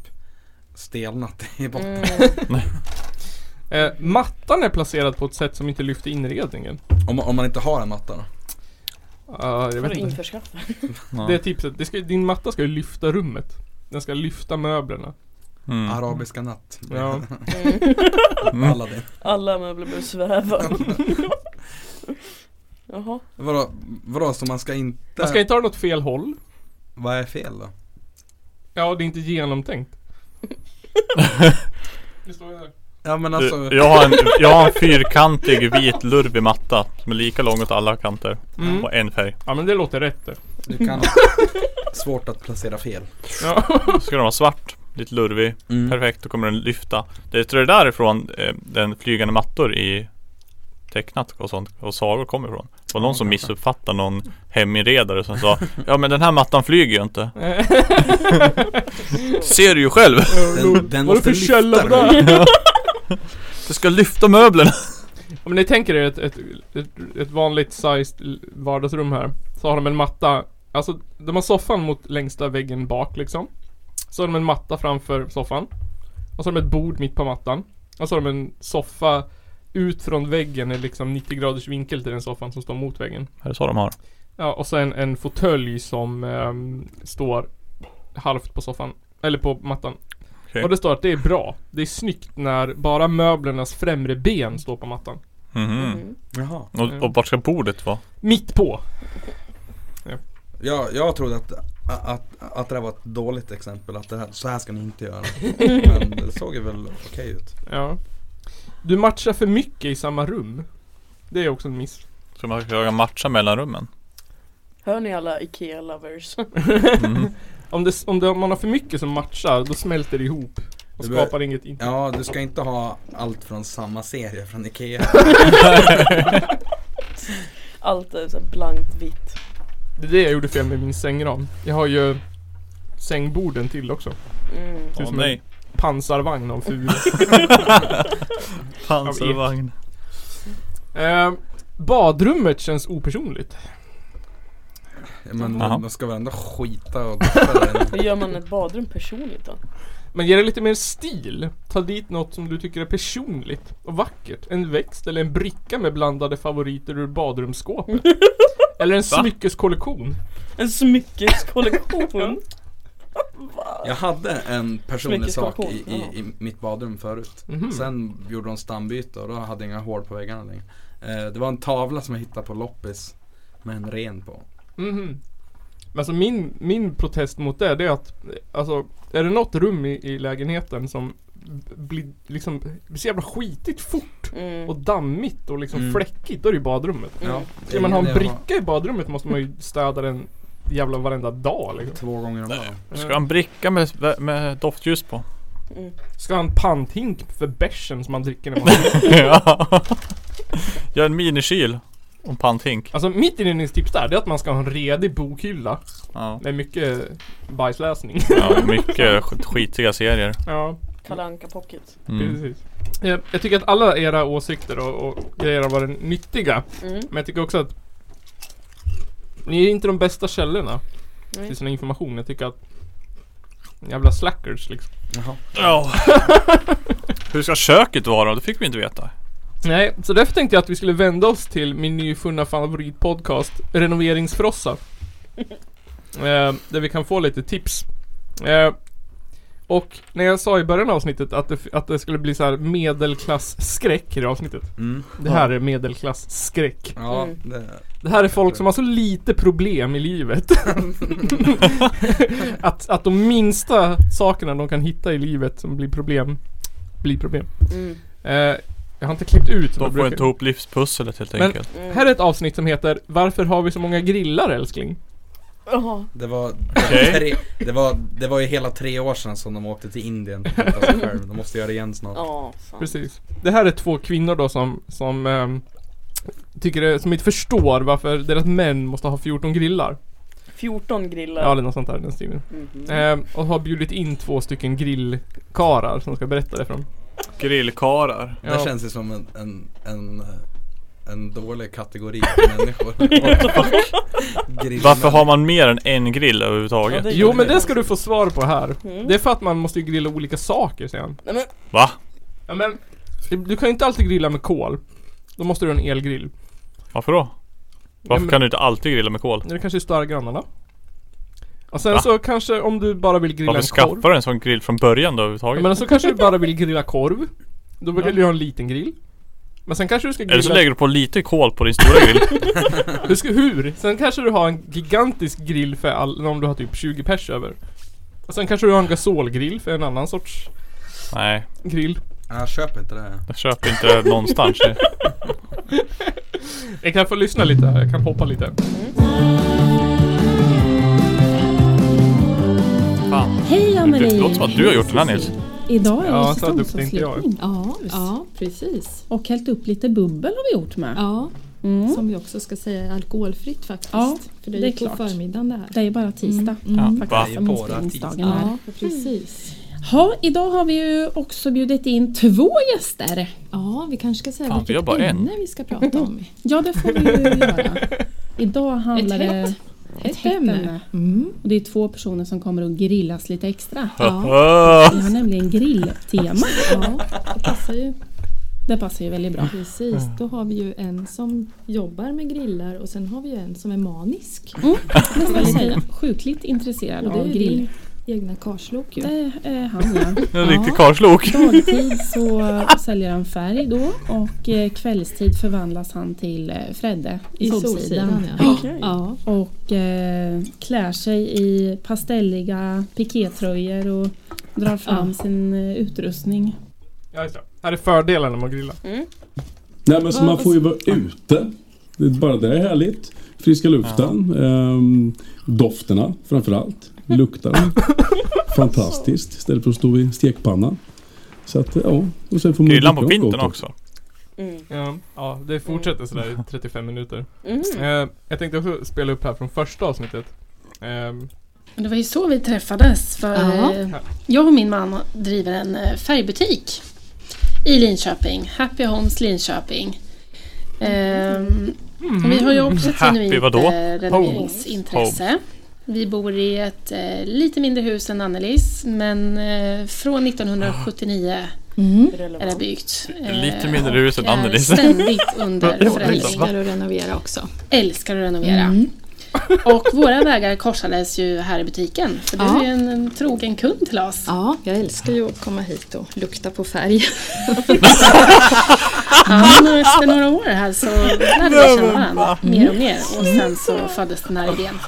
A: stelnat i botten.
B: Mm.
D: Eh, mattan är placerad på ett sätt som inte lyfter inredningen.
A: Om, om man inte har en matta då.
D: Ja, jag
B: Får
D: vet
B: du
D: inte.
B: införskaffa?
D: Det är tipset. Det ska, din matta ska ju lyfta rummet. Den ska lyfta möblerna.
E: Mm.
A: Arabiska natt.
D: Ja.
B: Mm.
E: Mm.
A: Aladdin.
B: Alla möbler börjar sväva Jaha
A: Vadå, vadå så man ska inte,
D: Man ska inte ha något fel håll.
A: vad är fel då?
D: Ja, det är inte genomtänkt. det står ju där.
A: Ja men alltså,
E: Du, jag, har en, jag har en fyrkantig vit lurvig matta som är lika lång åt alla kanter.
D: Mm.
E: Och en färg.
D: Ja men det låter rätt det.
A: du kan svårt att placera fel.
D: Ja.
E: Så ska den vara svart, lite lurvig,
B: Mm.
E: perfekt. Då kommer den lyfta. Det tror jag det är därifrån eh, den flygande mattor i tecknat och sånt och sagor kommer ifrån. Det var någon som missuppfattade någon heminredare som sa Ja men den här mattan flyger ju inte. Ser du ju själv!
A: Den, den
D: Vad är det
A: måste
D: för
A: lyfta
D: källa på det
A: den.
D: här?
E: Det ska lyfta möblerna!
D: Om ni tänker er ett, ett, ett, ett vanligt sized vardagsrum här. Så har de en matta. Alltså de har soffan mot längsta väggen bak liksom. Så har de en matta framför soffan. Och så har de ett bord mitt på mattan. Och så har de en soffa ut från väggen i liksom 90 graders vinkel till den soffan som står mot väggen.
E: Är det så de har?
D: Ja och så en, en fåtölj som ehm, står halvt på soffan. Eller på mattan.
E: Okej.
D: Och det står att det är bra. Det är snyggt när bara möblernas främre ben står på mattan.
E: Mhm.
B: Mm.
A: Jaha.
E: Och, och vart ska bordet vara?
D: Mitt på!
A: Jag, jag trodde att, att, att det här var ett dåligt exempel, att det här, så här ska ni inte göra. Men det såg ju väl okej ut.
D: Ja. Du matchar för mycket i samma rum. Det är också en miss.
E: Ska man försöka matcha mellanrummen?
B: Hör ni alla IKEA-lovers?
E: Mhm.
D: Om, det, s- om, det, om man har för mycket som matchar, då smälter det ihop. Och
A: Det bör-
D: skapar inget intryck.
A: Ja, du ska inte ha allt från samma serie från Ikea.
B: Allt är så här blankt vitt
D: Det är det jag gjorde fel med min sängram. Jag har ju sängborden till också.
B: mm.
D: Ser ut
E: Åh
D: som
E: nej.
D: en pansarvagn av ful.
E: Pansarvagn.
D: eh, badrummet känns opersonligt.
A: Men
E: Jaha.
A: man ska väl ändå skita och duscha där inne.
B: Hur gör man ett badrum personligt då?
D: Men ger det lite mer stil. Ta dit något som du tycker är personligt och vackert. En växt eller en bricka med blandade favoriter ur badrumsskåpet. eller en smyckeskollektion.
B: En smyckeskollektion?
A: Jag hade en personlig sak i, i,
B: Jaha.
A: i mitt badrum förut.
D: Mhm.
A: Sen gjorde de stambyte och då hade jag inga hål på väggarna längre. Eh, Det var en tavla som jag hittade på loppis med en ren på.
D: Mhm. Men alltså min, min protest mot det, det är att Alltså, är det något rum i, i lägenheten som b- blir liksom blir så jävla skitigt fort
B: Mm.
D: och dammigt och liksom
A: Mm.
D: fläckigt, då är det ju badrummet.
B: Mm.
A: Ja,
D: Ska man ha en
A: det var-
D: bricka i badrummet måste man ju städa den jävla varenda dag liksom. Eh,
A: Två gånger om dagen.
E: Ska ha en bricka med, med doftljus på.
B: Mm.
D: Ska ha en panthink för bärsen som man dricker när man
E: ja. Gör en minikyl. Och en panthink.
D: Alltså mitt inredningstips där, det är att man ska ha en redig bokhylla
E: Ja.
D: med mycket bajsläsning.
E: ja, mycket sk- skitiga serier.
D: ja,
B: Kalle Anka Pocket.
E: Mm.
D: precis. Eh, Jag tycker att alla era åsikter och, och grejer har varit nyttiga.
B: Mm.
D: Men jag tycker också att ni är inte de bästa källorna
B: Nej.
D: till sån här information. Jag tycker att jävla slackers liksom.
A: Jaha.
E: Ja. Hur ska köket vara? Det fick vi inte veta.
D: Nej, så därför tänkte jag att vi skulle vända oss till min nyfunna favoritpodcast Renoveringsfrossa eh, Där vi kan få lite tips eh, Och när jag sa i början av avsnittet att det, f- att det skulle bli så här medelklassskräck i det avsnittet
A: Mm.
D: Det här är medelklassskräck
A: Ja,
B: Mm.
A: det,
D: Det här är folk som har så lite problem i livet att, att de minsta sakerna de kan hitta i livet som blir problem Blir problem
B: Mm.
D: eh, Jag har inte klippt ut vad
E: De
D: jag
E: får
D: brukar-
E: inte ihop livspusslet helt
D: Men-
E: enkelt.
B: Mm.
D: Här är ett avsnitt som heter Varför har vi så många grillar älskling?
B: Jaha.
A: det var, det var,
E: Okej.
A: tre, det, var, det var ju hela tre år sedan som de åkte till Indien för att hitta sig själv. De måste göra det igen snart.
B: Ja, fan.
D: Precis. Det här är två kvinnor då som, som ehm, tycker det, som inte förstår varför deras män måste ha 14 grillar.
B: 14 grillar.
D: Ja eller något sånt där i den stilen.
B: Mhm.
D: Ehm, och har bjudit in två stycken grillkarar som ska berätta det för dem.
E: Grillkarar.
A: Det
D: Ja.
A: känns ju som en, en, en, eh, en dålig kategori för människor. Grillar.
E: Varför har man mer än en grill
B: Ja,
E: överhuvudtaget?
B: det
D: Jo
B: gjorde
D: men
B: vi.
D: det ska du få svar på här.
B: Mm.
D: Det är för att man måste ju grilla olika saker säger han.
B: Nej men,
E: Va?
D: Ja men du kan ju inte alltid grilla med kol. Då måste du ha en elgrill.
E: Varför då?
D: Ja,
E: Varför
D: men-
E: kan du inte alltid grilla med kol?
D: Det kanske stör grannarna. Och sen
E: Va?
D: så kanske om du bara vill grilla
E: Varför
D: en korv.
E: skaffar du en sån grill från början då
D: Ja,
E: överhuvudtaget?
D: men så kanske du bara vill grilla korv. Då vill
E: Ja.
D: du ha en liten grill. Men sen kanske du ska
E: Eller så
D: grilla...
E: lägger du på lite kol på din stora grill.
D: du ska, hur? Sen kanske du har en gigantisk grill för all, om du har typ 20 pers över. Och sen kanske du har en gasolgrill för en annan sorts
E: Nej,
D: grill.
A: Nej, jag köper inte det.
E: jag köper inte det här någonstans.
D: Jag kan få lyssna lite här, jag kan hoppa lite.
E: Fan.
F: Hej Amelie!
E: Det låter som att du har gjort den här, Nils.
F: Idag är
D: Ja,
F: det
D: så duktig är inte jag.
F: säsongsavslutning.
G: Ja, ja precis.
F: Och hällt upp lite bubbel har vi gjort med.
G: Ja,
F: Mm.
G: som vi också ska säga är alkoholfritt faktiskt.
F: Ja,
G: För det,
F: det är
G: gick på
F: klart.
G: förmiddagen det här.
F: Det är bara tisdag.
E: Ja, va?
F: Faktiskt,
A: Det är
F: om
A: bara
F: inspelningsdagen är.
G: Mm. Ja, precis.
F: Ha, idag har vi ju också bjudit in två gäster.
G: Ja, vi kanske ska säga
E: Fan, vi har
G: vilket
E: bara en.
G: ämne vi ska prata om.
F: Ja, det får vi ju göra. Idag handlar
G: Ett
F: det...
G: hett-
F: Ett
G: hett
F: hett
G: ämne.
F: ämne.
G: Mm.
F: Och det är två personer som kommer att grillas lite extra.
G: Ja,
E: Ah,
F: Vi har nämligen grilltema.
G: ja, det passar ju.
F: Det passar ju väldigt bra.
G: Precis, då har vi ju en som jobbar med grillar och sen har vi ju en som är manisk.
F: Det ska jag säga. Sjukligt intresserad
G: Och det är
F: av
G: ju
F: grill.
G: din egna karslok ju.
F: Det är han ja.
E: En riktig karlslok.
F: Dagtid så säljer han färg då och eh, kvällstid förvandlas han till eh, Fredde i, Solsidan.
G: ja. ja.
F: Och eh, klär sig i pastelliga pikétröjor och drar fram sin eh, utrustning.
D: Ja, just det. Här är fördelarna med att grilla.
H: Nej men så man får ju vara ute. Det är bara det är härligt. Friska luften. Ehm, dofterna framförallt. Luktar de. Fantastiskt. Istället för att stå vid stekpannan. Så att ja. Och sen får man
E: Grillan
H: dricka
E: på
H: något
E: vintern
H: gott
E: också.
B: Mm.
D: Ja, ja det fortsätter sådär i 35 minuter.
B: Mm.
D: Eh, jag tänkte också spela upp här från första avsnittet. Ehm,
I: Men Det var ju så vi träffades. För
G: Ja.
I: eh, Jag och min man driver en eh, färgbutik i Linköping. Happy Homes Linköping. Ehm,
E: Mm.
I: och Vi har ju också ett
E: Happy
I: genuint
E: vadå?
I: eh, renoveringsintresse. Vi bor i ett eh, lite mindre hus än Annelies men eh, från 1979
F: Mm.
I: är det
B: Relevant.
I: byggt.
E: Lite
I: Eh,
E: mindre hus än
I: och är
E: Annelies.
I: Ständigt under förändring.
G: Älskar att renovera också.
I: Älskar att renovera.
E: Mm.
F: Mm.
I: Och våra vägar korsades ju här i butiken. För du
G: Ja.
I: är ju en, en trogen kund till oss.
G: Ja, jag älskar ju att komma hit och lukta på färg.
I: Ja, men efter några år här
E: Mm.
I: så lärde vi känna varandra mer och mer och sen så föddes den här idén.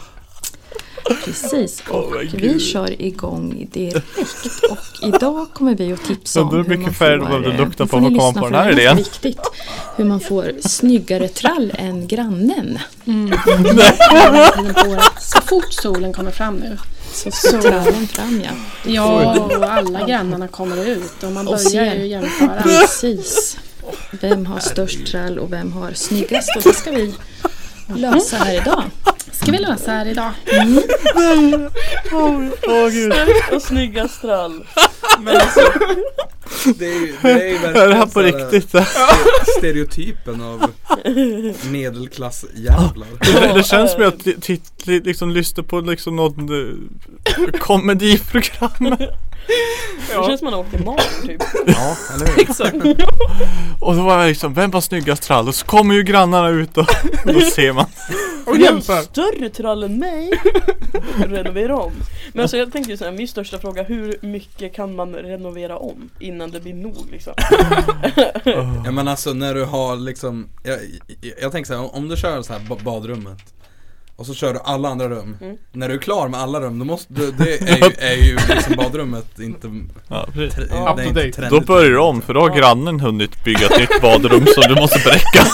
J: Precis, och
E: Åh, men
J: vi
E: gud.
J: kör igång direkt. Och idag kommer vi att tipsa om
E: Undrar hur
J: hur man
E: mycket färg
J: får,
E: du behövde
J: eh,
E: lukta
J: nu
E: på
J: får ni
E: för att komma
J: lyssna,
E: på
J: för
E: den här
J: det är
E: idén.
J: viktigt. Hur man får snyggare trall än grannen.
I: Så fort solen kommer fram nu.
J: Så ska trallen fram ja.
I: Ja, och alla grannarna kommer ut och man
J: Och
I: börjar
J: ser.
I: ju jämföra.
J: Precis. Vem har störst trall och vem har snyggast? Och det ska vi lösa här idag.
I: Ska vi lösa här idag?
E: Åh gud.
B: Och snygga strall.
A: Det är ju, det är ju eh,
E: Är det
A: verkligen
E: här på
A: så här
E: riktigt? eh.
A: ste- stereotypen av medelklassjävlar.
E: Det känns som att jag titt, liksom lyssnar på liksom något eh, komediprogram.
B: Det känns som man åker mal typ.
E: Ja, eller hur?
B: Exakt.
E: Och då var jag liksom, vem var snyggast trall? Och så kommer ju grannarna ut och då ser man.
D: Och
B: Jag är en
D: jämför.
B: större trall än mig. Renovera om. Men alltså jag tänker så här, min största fråga, hur mycket kan man renovera om innan det blir nog liksom?
A: Ja men alltså när du har liksom, jag, jag, jag tänker så här, om du kör så här ba- badrummet och så kör du alla andra rum.
B: Mm.
A: När du är klar med alla rum, då måste, du, det är ju, är ju liksom badrummet inte,
E: Ja,
A: tre,
E: precis.
A: det är inte
D: date.
E: Då
A: trendigt.
E: börjar du om för då har grannen hunnit bygga ett nytt badrum som du måste bräcka.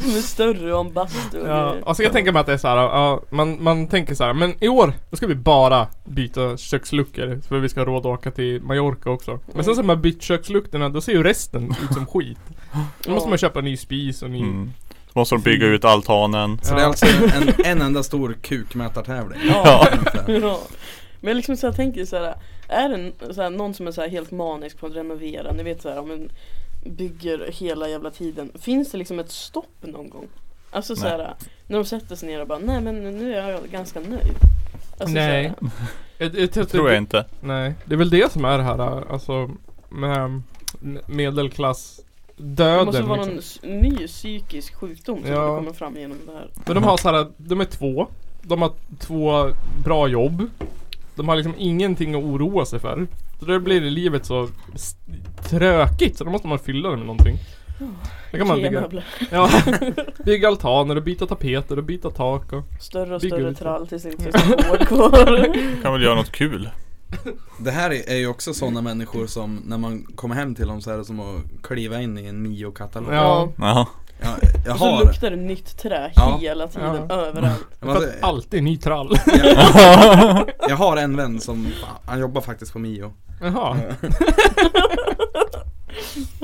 B: Som är större och en bastu och
D: Ja,
B: grejer.
D: alltså jag tänker mig att det är så här, ja, man, man tänker så här, men i år, då ska vi bara byta köksluckor för vi ska ha råd att åka till Mallorca också. Men sen så när man bytt köksluckorna, då ser ju resten ut som skit. Då måste man köpa en ny spis och ny...
E: Mm. Så måste de bygga ut altanen.
A: Så det är alltså en, en enda stor kukmätartävling.
E: Ja.
B: Ja. Men jag liksom så här tänker så här, är det en- så här, någon som är så här helt manisk på att renovera, ni vet så här, om en bygger hela jävla tiden, finns det liksom ett stopp någon gång? Alltså så
E: Nej.
B: här, när de sätter sig ner och bara nej men nu är jag ganska nöjd. Alltså,
D: Nej.
B: Så här,
D: Jag, jag, jag,
E: Tror jag inte.
D: Nej, det är väl det som är det här alltså med medelklass
B: det
D: döden
B: måste vara någon
D: liksom.
B: s- ny psykisk sjukdom som
D: Ja.
B: kommer fram genom det här.
D: Men de har så här, de är två. De har två bra jobb. De har liksom ingenting att oroa sig för. Så då blir det livet så s- trökigt så då måste man fylla det med någonting. Då kan man bygga,
B: Ikea-möbler.
D: ja, bygga altaner och byta tapeter och byta tak och...
B: Större och
D: Bygga
B: större
D: ut.
B: trall tills det inte finns något hår kvar.
E: Kan väl göra något kul.
A: Det här är är ju också sådana människor som, när man kommer hem till dem så är det som att kliva in i en Mio-katalog.
D: Ja.
E: Ja.
A: Ja, jag
B: Och så
A: har
B: luktar det nytt trä
A: Ja.
B: hela tiden,
D: Ja.
B: överallt.
A: jag, måste-
D: För att alltid ny trall.
A: jag, alltså, jag har en vän som, han jobbar faktiskt på Mio.
D: Jaha.
B: Mm.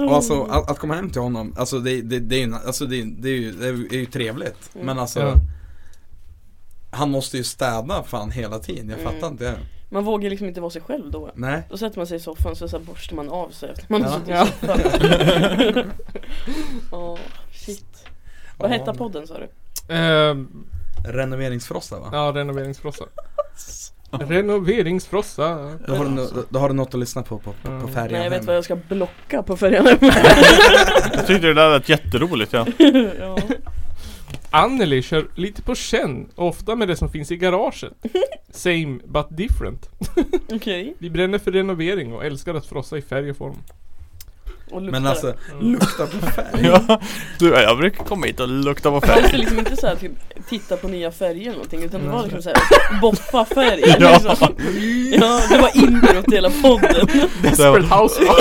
A: Och alltså att, att komma hem till honom, alltså det, det, det, är, ju, alltså det, är- det, är, ju, det är ju trevligt.
B: Mm.
A: Men alltså
D: Ja.
A: Han måste ju städa fan hela tiden, jag
B: Mm.
A: fattar inte det.
B: Man vågar liksom inte vara sig själv då.
A: Nej.
B: Då sätter man sig i soffan så, så här borstar man av sig efter man
A: Ja.
B: har suttit
D: Ja.
B: i soffan. Åh, shit. Vad
A: Ja.
B: hette podden sa du?
D: Ehm,
A: Renoveringsfrossa va?
D: ja, renoveringsfrossa. Renoveringsfrossa.
A: Då, har du,
D: Alltså.
A: no- då har du något att lyssna på på, på, på
D: Mm.
A: färjan
B: Nej jag vet
A: hem.
B: vad jag ska blocka på färjan
E: Jag tyckte det där lät jätteroligt ja.
B: ja.
D: Anneli kör lite på känn, ofta med det som finns i garaget. Same but different.
B: Okej,
D: Vi bränner för renovering och älskar att frossa i färg och form.
B: och luktar
A: Men alltså, lukta på
D: Mm.
A: färg.
E: ja. Du, jag brukar komma hit och lukta på
B: Man ska
E: färg.
B: liksom inte såhär typ titta på nya färger eller någonting utan det var liksom såhär boppa färger
E: Ja.
B: liksom. ja, det var inbrott i hela podden
D: Desperate housewife.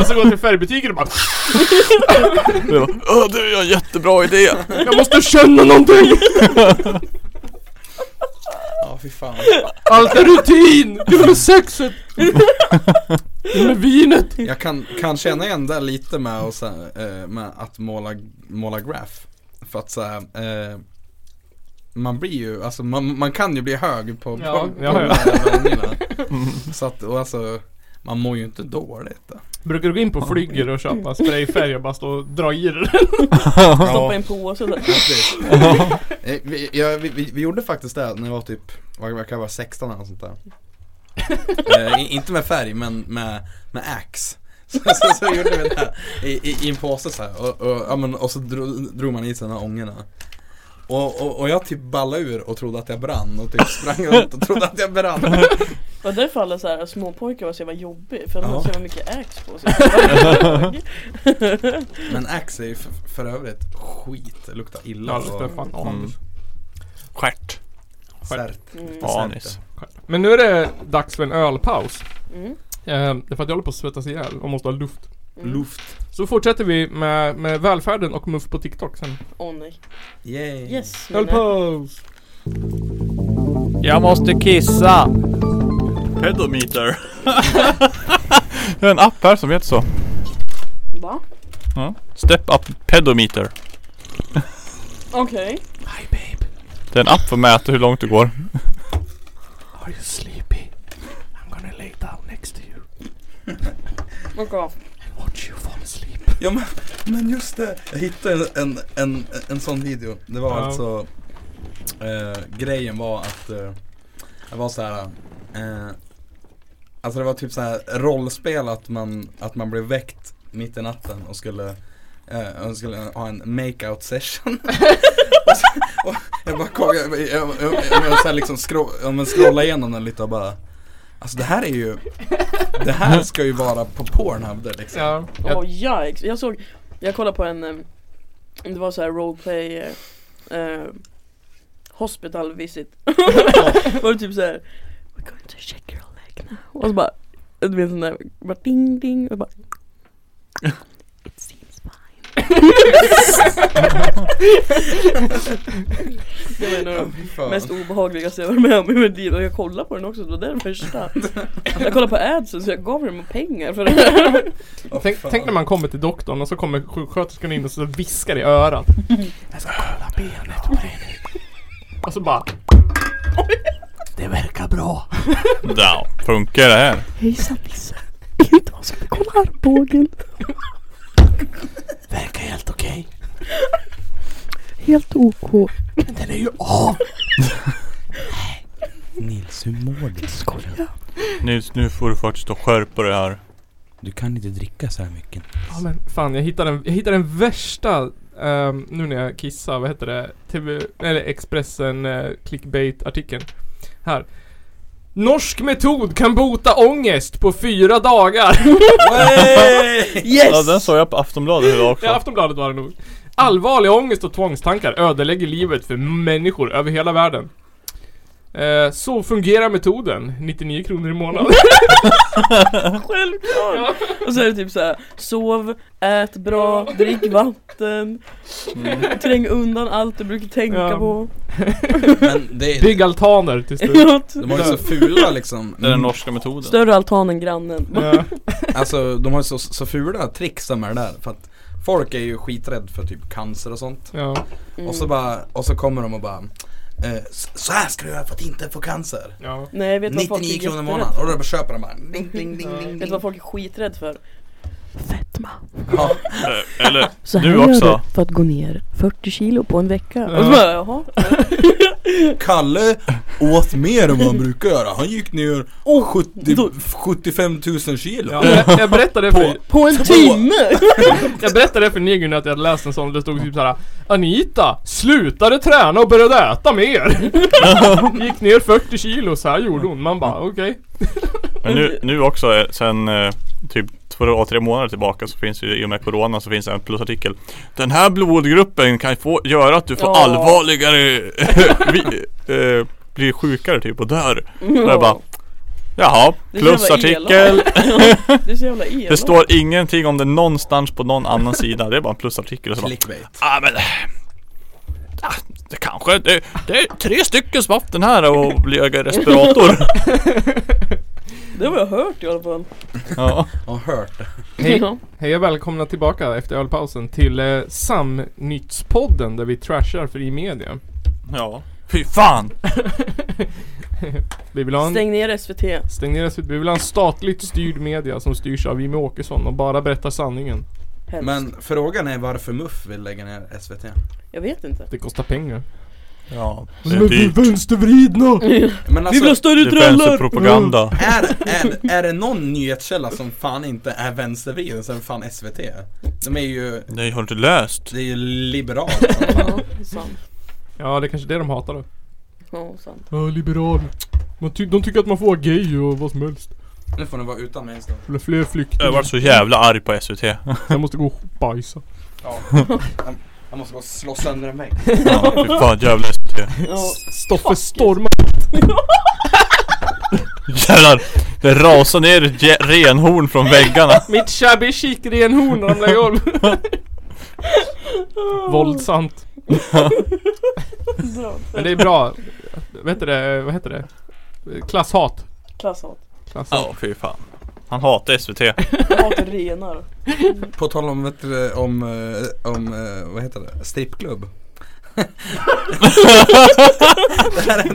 D: och så går jag till färgbutiken och bara
E: Det var, Åh, du, jag har en jättebra idé.
D: Jag måste känna någonting!
A: Ja fy fan.
D: Allt är rutin! Det är med sexet! Det är med vinet!
A: Jag kan, kan känna igen det lite med, och så här, eh, med att måla, måla graf. För att så här, eh, man blir ju, alltså man, man kan ju bli hög på,
D: Ja,
A: på, på
D: ja,
A: de
D: ja.
A: här vändningarna.
E: Mm.
A: Så att, och alltså, man mår ju inte dåligt. då.
D: Brukar du gå in på Flygger och köpa sprayfärg och bara stå och dra i det?
B: Stoppa i en påse såhär
A: Precis. Eh, vi, jag, vi, vi, vi gjorde faktiskt det när jag var typ, vad vad kan jag vara, 16 eller något sånt där. Eh, i- inte med färg men med, med ax. Så, så, så gjorde vi det här i, i, i en påse så här. Och, och, ja, men, och så drog, drog man i sig de här ångorna. Och, och, och jag typ ballade ur och trodde att jag brann och typ sprang runt och trodde att jag brann.
B: Det var därför alla så här, småpojkar var så jävla jobbiga för
A: Ja.
B: de hade så jävla mycket ax på sig
A: Men ax är ju för, för övrigt skit, det luktar illa. Mm.
D: Ja,
A: och-
D: det fan
E: Mm. Stjärt.
A: Cert.
B: Mm.
E: Anis.
D: Men nu är det dags för en ölpaus.
B: Mm.
D: Eh, därför att jag håller på att svettas ihjäl och måste ha luft.
B: Mm.
A: Luft.
D: Så fortsätter vi med, med välfärden och muff på TikTok sen.
B: Åh nej.
A: Yay.
B: Yes.
D: Ölpaus!
E: Jag måste kissa! Pedometer. det är en app här som heter så.
B: Va?
E: Ja. Step up pedometer.
B: Okej.
E: Det är en app för att mäta hur långt du går.
D: Are you sleepy? I'm gonna lay down next to you.
B: Fuck off.
D: Watch you fall asleep.
A: Ja men, men just det. Jag hittade en, en, en, en sån video. Det var
D: Ja.
A: alltså eh, Grejen var att eh, Det var så här. Eh, alltså det var typ så här rollspel att man, att man blev väckt mitt i natten och skulle eh, och skulle ha en make-out session och så, och Jag bara kom, jag, jag, jag, jag, jag så här liksom scro- ja, men scrollade igenom den lite och bara Alltså det här är ju Det här ska ju vara på Pornhub där liksom
D: Ja.
B: Åh
D: Jag,
B: yikes. Jag såg, jag kollade på en, eh, det var så här roleplay eh, eh, Hospital visit Var det typ så här We're going to check your leg now Och så bara, du vet sån där, bara ding ding och bara It seems fine Det var en av
A: Fy
B: de
A: fan.
B: mest obehagligaste jag varit med om i mitt liv och jag kollade på den också, det var den första Jag kollade på adsen så jag gav dem pengar för det
A: Åh,
D: tänk,
A: fan.
D: tänk när man kommer till doktorn och så kommer sjuksköterskan in och så viskar i örat. Jag ska kolla benet på dig nu. Och så bara... Det verkar bra.
E: Ja, funkar det här?
B: Hejsan Nisse. Idag ska vi kolla armbågen.
D: Verkar helt okej.
B: Helt OK.
D: Men den är ju av.
A: Nils, hur mår du? Skojar.
E: Nils, nu får du faktiskt och skärpa dig här.
A: Du kan inte dricka så här mycket.
D: Ja men fan, jag hittade den, jag hittade den värsta, ehm, nu när jag kissar, vad heter det? TV, eller Expressen eh, clickbait-artikeln. Här. Norsk metod kan bota ångest på fyra dagar.
B: Yes!
E: Ja, den såg jag på Aftonbladet idag också.
D: Ja, Aftonbladet var det nog. Allvarlig ångest och tvångstankar ödelägger livet för människor över hela världen. Eh, så fungerar metoden. 99 kronor i månaden.
B: Självklart! Och så är det typ så här: sov, ät bra, drick vatten,
E: Mm.
B: träng undan allt du brukar tänka
D: Ja.
B: på.
A: Men det,
D: Bygg altaner tills du...
A: de har ju så fula liksom
E: Det är den norska metoden.
B: Större altan än grannen.
D: Ja.
A: Alltså de har ju så, så fula tricks de är där för att Folk är ju skiträdd för typ cancer och sånt
D: ja.
B: Mm.
A: och, så bara, och så kommer de och bara eh, "S- Så här ska du göra för att inte få cancer
D: Ja.
B: Nej, vet du vad folk
A: 99
B: är
A: kronor i
B: jätterädd
A: månaden och
B: för?
A: då bara köper de bara ding, ding, ding, ding,
B: Vet du
A: ding.
B: vad folk är skiträdd för? Fetma.
A: Ja,
E: Eh, Eller,
B: Så
E: här Du gör också. du
B: för att gå ner 40 kilo på en vecka.
D: Ja.
B: Och så bara, jaha.
A: Kalle åt mer än vad han brukar göra Han gick ner
B: Oh,
A: 70, 75 000 kilo
D: Ja, jag, Eh, jag berättade för...
B: På en timme!
D: Jag berättade för Negun att jag hade läst en sån, det stod typ såhär Anita, slutade träna och började äta mer! Gick ner 40 kilo, så här gjorde hon. Man bara okej.
E: men nu, nu också eh, sen eh, typ två, tre månader tillbaka så finns det ju i och med Corona så finns det en plusartikel Den här blodgruppen kan få, göra att du får
B: Ja.
E: allvarligare vi, eh, Blir sjukare typ och dör. Där bara, Jaha,
B: Det är så jävla
E: plusartikel.
B: Det är så jävla elakt.
E: Det står ingenting om det någonstans på någon annan sida. Det är bara en plusartikel. Och så bara,
A: Clickbait
E: ah, men, ah, det kanske, det, det är tre stycken som haft den här och blivit respirator.
B: Det har jag hört i alla fall.
E: Ja.
A: Har hört det
D: Hej.
B: Ja.
D: Hej och välkomna tillbaka efter ölpausen till eh, Samnyttspodden där vi trashar fri media.
E: ja. Fy fan!
D: Vi vill ha en, stäng.
B: Stäng ner SVT.
D: ner oss ut. Vi vill ha en statligt styrd media som styrs av Jimmie Åkesson och bara berättar sanningen.
B: Helst.
A: Men frågan är varför MUF vill lägga ner SVT
B: Jag vet inte.
D: Det kostar pengar.
E: Ja, det
D: Men
E: är
D: vi är
E: dyrt.
B: Mm.
D: vänstervridna!
A: Men
B: Vi vill ha
A: alltså,
E: Det
B: större
E: är
B: trällar!
A: Mm.
E: vänsterpropaganda.
A: är, är, är det någon nyhetskälla som fan inte är vänstervriden så är det fan SVT De är ju,
E: Nej, har du inte läst?
A: det är ju liberalt som fan.
B: Ja, det är sant.
D: Ja, det är kanske det de hatar då.
B: Ja, sant.
D: Ja, liberal. Man ty- de tycker att man får vara gay och vad som helst.
A: Nu får ni vara utan mig en stund
D: Eller fler flyktingar.
E: Jag var så jävla arg på SVT.
D: Jag måste gå och bajsa.
A: ja. Jag måste bara slå sönder en vägg
E: Ja, fy fan jävla SVT.
B: Ja,
D: Stoffe stormar
E: Jävlar! Det rasar ner ett jä- renhorn från väggarna.
D: Mitt shabby chic-renhorn ramlade i golvet. Våldsamt. Men det är bra. Vad heter det? Vad heter det? Klasshat.
B: Klasshat.
E: Ja, fy fan. Han hatar SVT.
B: Mat renar.
A: På tal om, vet du, om, eh, om eh, vad heter det, strippklubb.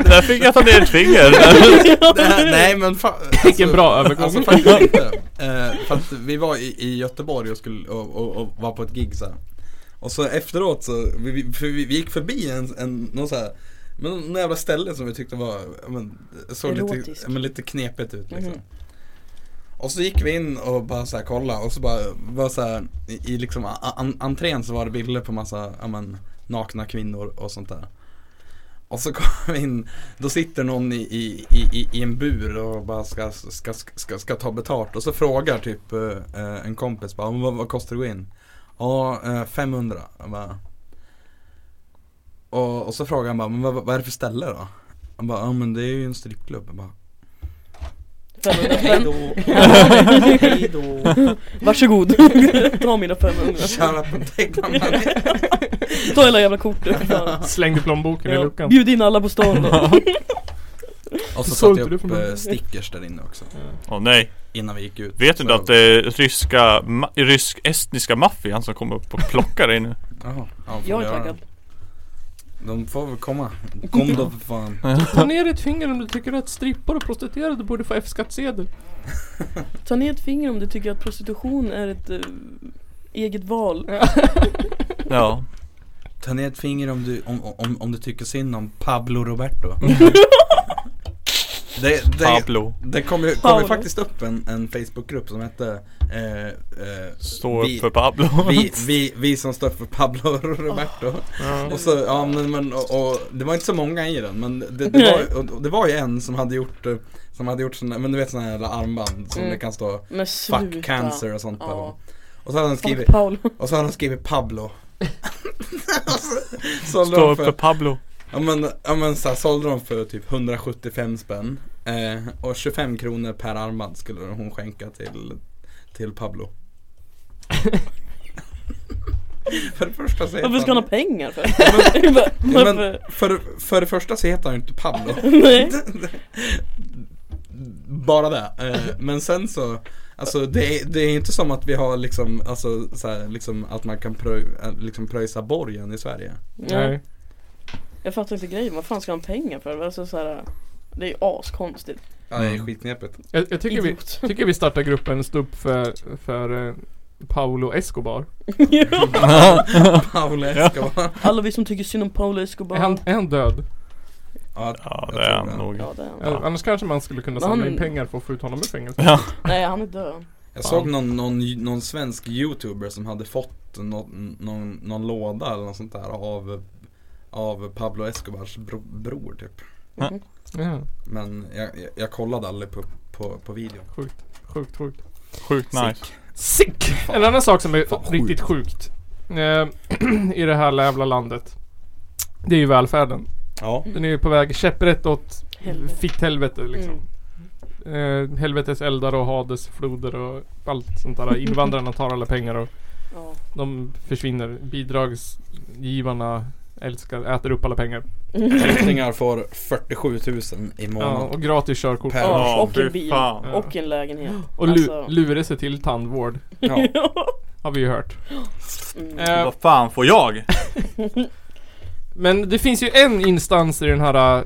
E: Där fick jag ta ner ett finger.
A: det här, nej men fan.
D: Vilken bra övergång.
A: Alltså faktiskt inte. Eh, för att vi var i, i Göteborg och, skulle, och, och, och var på ett gig så här. Och så efteråt så, vi, vi, för vi, vi gick förbi en, en någon så här, men någon jävla ställe som vi tyckte var, ja, men, såg lite,
B: Erotisk.
A: ja, men, lite knepigt ut liksom.
B: Mhm.
A: Och så gick vi in och bara så här kolla och så bara, var så här, i, i liksom a- an, entrén så var det bilder på massa, ja men, nakna kvinnor och sånt där. Och så kom vi in, då sitter någon i, i, i, i- i en bur och bara ska, ska, ska, ska ta betalt och så frågar typ eh, en kompis bara, vad, vad kostar det att gå in? Ja, eh, 500. Jag bara, och, och så frågar han bara, men vad, vad är det för ställe då? Han bara, ja men det är ju en strippklubb. Jag bara,
B: 500
A: Hej
B: spänn.
A: då.
B: Hej då. Varsågod. Ta mina 500.
A: Tjära på täckan.
B: Ta hela jävla kortet. för fan.
D: Slängde plånboken i
B: Ja.
D: luckan.
B: Bjud in alla på stan då.
A: Och så satte
D: Sålde
A: jag
D: du
A: upp
D: för mig?
A: eh, stickers där inne också.
E: Åh nej.
A: Innan vi gick ut.
E: Vet du inte
A: Så-
E: att det är ryska, ma- rysk-estniska maffian som kommer upp och plockar dig nu?
A: Jaha, ja, får
B: Jag är
A: göra
B: taggad.
A: det. De får väl komma. Kom då för fan.
D: Ta ner ett finger om du tycker att strippor och prostituerade borde få F-skattsedel.
B: Ta ner ett finger om du tycker att prostitution är ett eh, eget val.
E: Ja.
A: Ta ner ett finger om du, om, om, om du tycker synd om Pablo Roberto. det, det,
E: Pablo.
A: det kom ju, kom ju
B: Paolo.
A: faktiskt upp en, en Facebookgrupp som hette eh, eh,
E: Står
A: vi-
E: upp för Pablo.
A: vi, vi, vi som står för Pablo och Roberto.
B: Ah.
A: Och så, ja men, men och, och, det var inte så många i den men det, det, var, och, och det var ju en som hade gjort eh, Som hade gjort såna, men du vet såna här jävla armband som
B: Mm.
A: det kan stå
B: Men
A: Fuck
B: sluta.
A: cancer och sånt på.
B: Ja.
A: Och så hade han skrivit,
B: Fuck Paolo.
A: och så hade han skrivit Pablo Och så- Sålde
E: Står
A: de
E: upp för
A: för,
E: Pablo.
A: ja men, ja, men så här, sålde de för typ 175 spänn eh, Och 25 kronor per armband skulle hon skänka till, till Pablo För det första så heter
B: Varför ska han ha pengar för?
A: Ja, men
B: Varför?
A: för, för det första så heter han ju inte Pablo.
B: Nej.
A: Bara det. Eh, Men sen så, alltså det är, det är inte som att vi har liksom, alltså så här, liksom att man kan prö, eh, liksom pröjsa borgen i Sverige.
B: Ja. Jag fattar inte grejen, vad fan ska han ha pengar för? Alltså, så här, det är ju askonstigt.
A: Ja, det är skitknepigt.
D: Jag, jag tycker, vi,
B: Idiot.
D: tycker vi startar gruppen Stå upp för, för eh, Paolo Escobar.
B: Ja.
A: Paolo Escobar.
B: Alla vi som tycker synd om Paolo Escobar.
D: Är han, är han död?
A: Ja,
E: Ja,
A: jag
E: det är
A: tror
E: han nog.
B: Ja, det är han.
D: Eller, annars kanske man skulle kunna
B: Men
D: samla
B: han-
D: in pengar för att få ut honom ur fängelse.
E: Ja.
B: Nej, han är död.
A: Jag såg någon, någon, någon svensk youtuber som hade fått någon, någon, någon låda eller något sånt där av, av Pablo Escobars bro, bror typ.
B: Mm.
D: Ja,
A: Men jag, jag, jag kollade aldrig på, på, på videon.
D: sjukt, sjukt.
E: Sjukt nice.
D: Sick! En annan sak som är
A: Fan, sjukt.
D: riktigt sjukt eh, i det här jävla landet. Det är ju välfärden.
A: Ja.
D: Den är ju på väg käpprätt åt
B: Helvete.
D: fitt helvete liksom.
B: Mm.
D: Eh, helvetes eldar och Hades floder och allt sånt där. Invandrarna tar alla pengar och
B: Ja.
D: de försvinner. Bidragsgivarna älskar, äter upp alla pengar.
A: Flyktingar får 47 000 i
D: Ja,
A: månaden.
D: och gratis körkort.
A: Per-
B: Ja,
E: Ja,
B: och
E: fy
B: en bil.
E: fan.
B: Och en lägenhet.
D: Och lu-
B: Alltså-
D: lura sig till tandvård.
A: Ja.
D: Har vi ju hört.
B: Mm.
D: Eh,
E: Vad fan får jag?
D: Men det finns ju en instans i den här äh,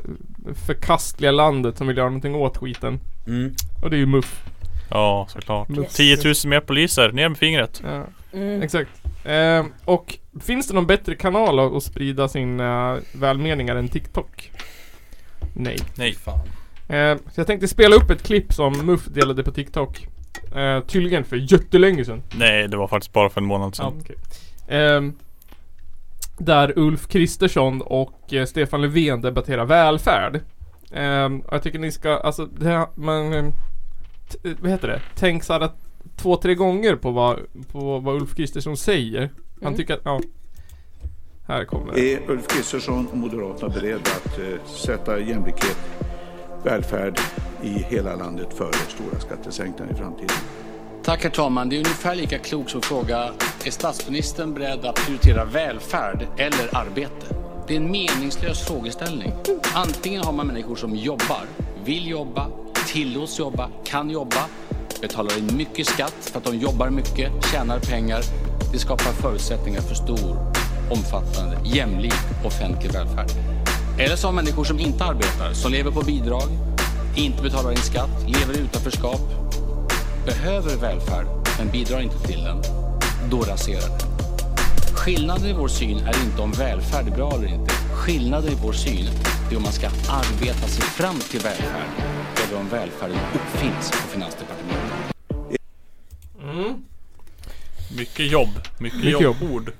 D: förkastliga landet som vill göra någonting åt skiten.
A: Mm.
D: Och det är ju MUF.
E: Ja, såklart.
D: Yes.
E: 10 000 mer poliser, ner med fingret.
D: Ja,
B: Mm.
D: exakt. Eh, och finns det någon bättre kanal att att sprida sina välmeningar än TikTok? Nej.
E: Nej.
A: Fan.
D: Eh, så jag tänkte spela upp ett klipp som MUF delade på TikTok. Eh, tydligen för jättelänge sedan.
E: Nej, det var faktiskt bara för en månad
D: Ja,
E: sedan.
D: okej. Ehm, där Ulf Kristersson och eh, Stefan Löfven debatterar välfärd. Ehm, och jag tycker ni ska, alltså det här, man, ehm, t- eh, vad heter det? Tänk så här att två, tre gånger på vad, på vad Ulf Kristersson säger. Han
B: Mm.
D: tycker att, ja. Här kommer det.
K: Är Ulf Kristersson och Moderaterna beredda att eh, sätta jämlikhet välfärd i hela landet före stora skattesänkningar i framtiden.
L: Tack herr talman. Det är ungefär lika klokt som att fråga är statsministern beredd att prioritera välfärd eller arbete? Det är en meningslös frågeställning. Antingen har man människor som jobbar, vill jobba, tillåts jobba, kan jobba, betalar in mycket skatt för att de jobbar mycket, tjänar pengar. Det skapar förutsättningar för stor, omfattande, jämlik offentlig välfärd. Eller så har människor som inte arbetar, som lever på bidrag, inte betalar in skatt, lever i utanförskap, behöver välfärd men bidrar inte till den, då raserar den. Skillnaden i vår syn är inte om välfärd är bra eller inte. Skillnaden i vår syn är om man ska arbeta sig fram till välfärd eller om välfärden uppfinns på Finansdepartementet.
D: Mm.
E: Mycket jobb, mycket,
D: Mycket
E: jobb.
D: jobb.
E: ord.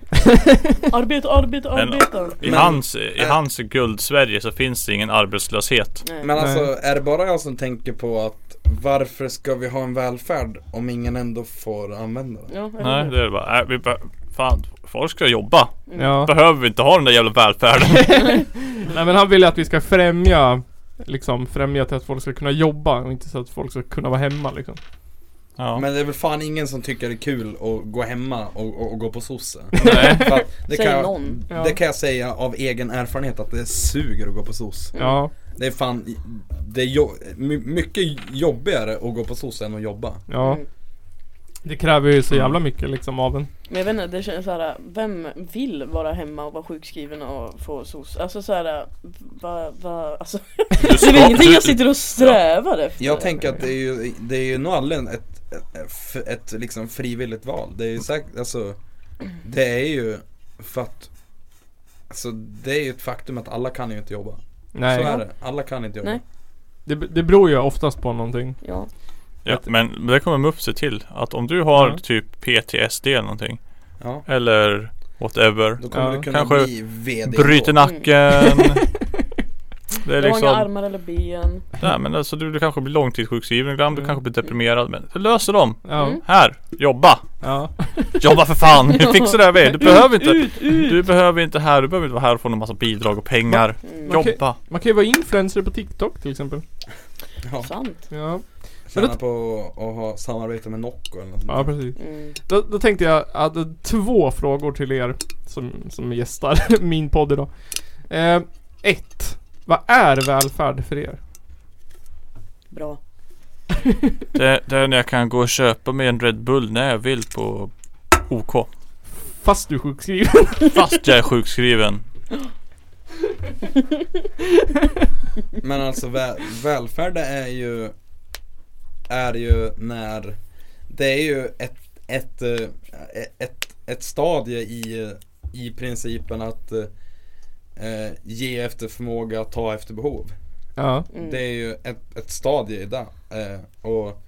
B: Arbeta, arbeta,
E: Men
B: arbeta.
E: i hans,
A: Äh.
E: i hans guld-Sverige så finns det ingen arbetslöshet.
A: Men alltså, är det bara jag som tänker på att varför ska vi ha en välfärd om ingen ändå får använda den?
B: Ja,
E: Nej, det är bara, äh, vi bara, fan, folk ska jobba.
B: Mm.
D: Ja.
E: Behöver vi inte ha den där jävla välfärden.
D: Nej men han vill ju att vi ska främja Liksom främja till att folk ska kunna jobba och inte så att folk ska kunna vara hemma liksom
A: Men det är väl fan ingen som tycker det är kul att gå hemma och, och, och gå på sosse?
D: Nej.
A: För att det,
D: Säg
A: kan jag,
D: någon.
A: det kan jag säga av egen erfarenhet att det suger att gå på soc.
D: Ja.
A: Det är fan, det är jo, my- mycket jobbigare att gå på soc än att jobba.
D: Ja Det kräver ju så jävla mycket liksom av en
B: Men jag vet inte, det känns såhär, vem vill vara hemma och vara sjukskriven och få SOS? Alltså såhär, va, va, alltså Det är väl ingenting jag sitter och strävar efter
A: Jag tänker att det är ju, det är ju nog aldrig ett, ett, ett, ett liksom frivilligt val. Det är ju säkert, alltså Det är ju för att Alltså det är ju ett faktum att alla kan ju inte jobba.
D: Nej.
A: Så är det, alla kan inte jobba.
B: Nej.
D: det, det beror ju oftast på någonting
B: Ja
E: Ja, men det kommer MUF se till. Att om du har typ PTSD eller någonting.
A: Ja.
E: Eller whatever.
A: Då kommer du kunna
E: Kanske
A: bli VD då.
E: bryter nacken. det är
B: Jag har inga
E: liksom.
B: armar eller ben
E: Nej men alltså du, du kanske blir långtidssjukskriven ibland. Du kanske blir deprimerad. Men det löser dem.
D: Ja. Mm.
E: Här, jobba.
D: Ja.
E: Jobba för fan. Vi fixar det här med. Du
D: Ut,
E: behöver inte.
D: ut, ut.
E: Du behöver inte här. Du behöver inte vara här och få en massa bidrag och pengar.
A: Mm.
D: man
E: Jobba.
D: kan, man kan ju vara influencer på TikTok till exempel
A: Ja.
B: Sant
D: Ja
A: Tjäna på att ha samarbete med Nocco eller något sånt
D: Ja
A: där.
D: precis.
B: Mm.
D: Då, då tänkte jag att eh, två frågor till er som, som gästar min podd idag. Eh, ett. Vad är välfärd för er?
B: Bra
E: Det, det är när jag kan gå och köpa mig en Red Bull när jag vill på OK.
D: Fast du är sjukskriven.
E: Fast jag är sjukskriven.
A: Men alltså vä- välfärd det är ju Är ju när Det är ju ett Ett, eh, ett, ett stadie i eh, I principen att eh, Ge efter förmåga, ta efter behov
D: Ja.
B: Mm.
A: Det är ju ett, ett stadie i det eh, Och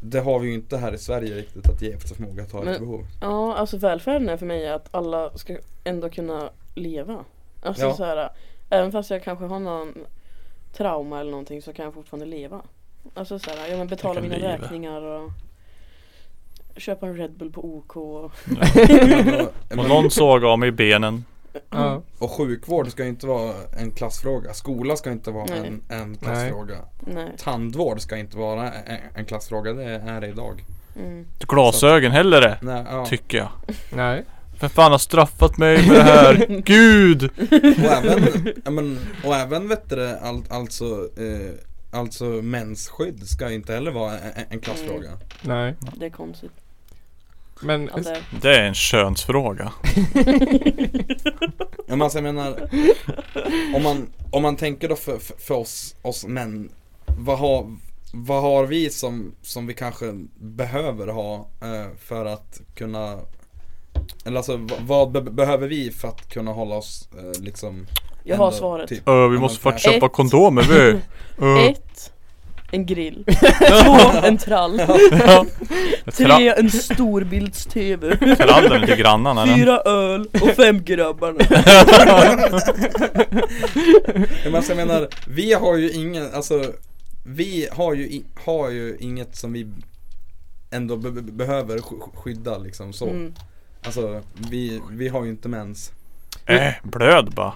A: Det har vi ju inte här i Sverige riktigt att ge efter förmåga, ta efter
B: Men,
A: behov
B: ja, alltså välfärden är för mig att alla ska ändå kunna leva. Alltså
A: Ja.
B: så här, även fast jag kanske har någon trauma eller någonting så kan jag fortfarande leva. Alltså så här, jag men betala
E: Jag kan
B: mina
E: leva.
B: räkningar och köpa en Red Bull på OK. Och...
E: Och någon såg av mig benen.
D: Ja.
A: Och sjukvård ska ju inte vara en klassfråga. Skola ska inte vara
B: Nej.
A: en, en klassfråga.
B: Nej.
A: Tandvård ska inte vara en, en klassfråga. Det är det idag.
B: Mm.
E: Glasögon heller det.
A: Nej, ja.
E: Tycker jag.
D: Nej.
E: Vem fan har straffat mig med det här? Gud!
A: Och även, ja, men, och även vet du det, all, alltså, eh, alltså mensskydd ska inte heller vara en, en klassfråga.
D: Nej.
B: Det är konstigt. Alltså,
D: Men...
B: Att det-
E: Det är en könsfråga.
A: Ja, men alltså, jag menar, om man, om man tänker då för, för, för oss, oss män, vad har, vad har vi som, som vi kanske behöver ha eh, för att kunna eller alltså vad, vad be- behöver vi för att kunna hålla oss eh, liksom
B: Jag har
A: ändå typ?
B: svaret.
E: Ö, vi måste faktiskt köpa
B: Ett.
E: kondomer vi. Ö.
B: Ett, en grill. Två, en trall.
E: Ja.
B: Tre, en storbilds-tv.
E: Trallen är till grannarna, den.
B: Fyra öl och fem grabbarna.
A: Ja, men alltså, jag menar, vi har ju ingen, alltså vi har ju, i, har ju inget som vi ändå be- be- behöver sk- skydda liksom så.
B: Mm.
A: Alltså vi, vi har ju inte mens.
E: Äh, blöd bara.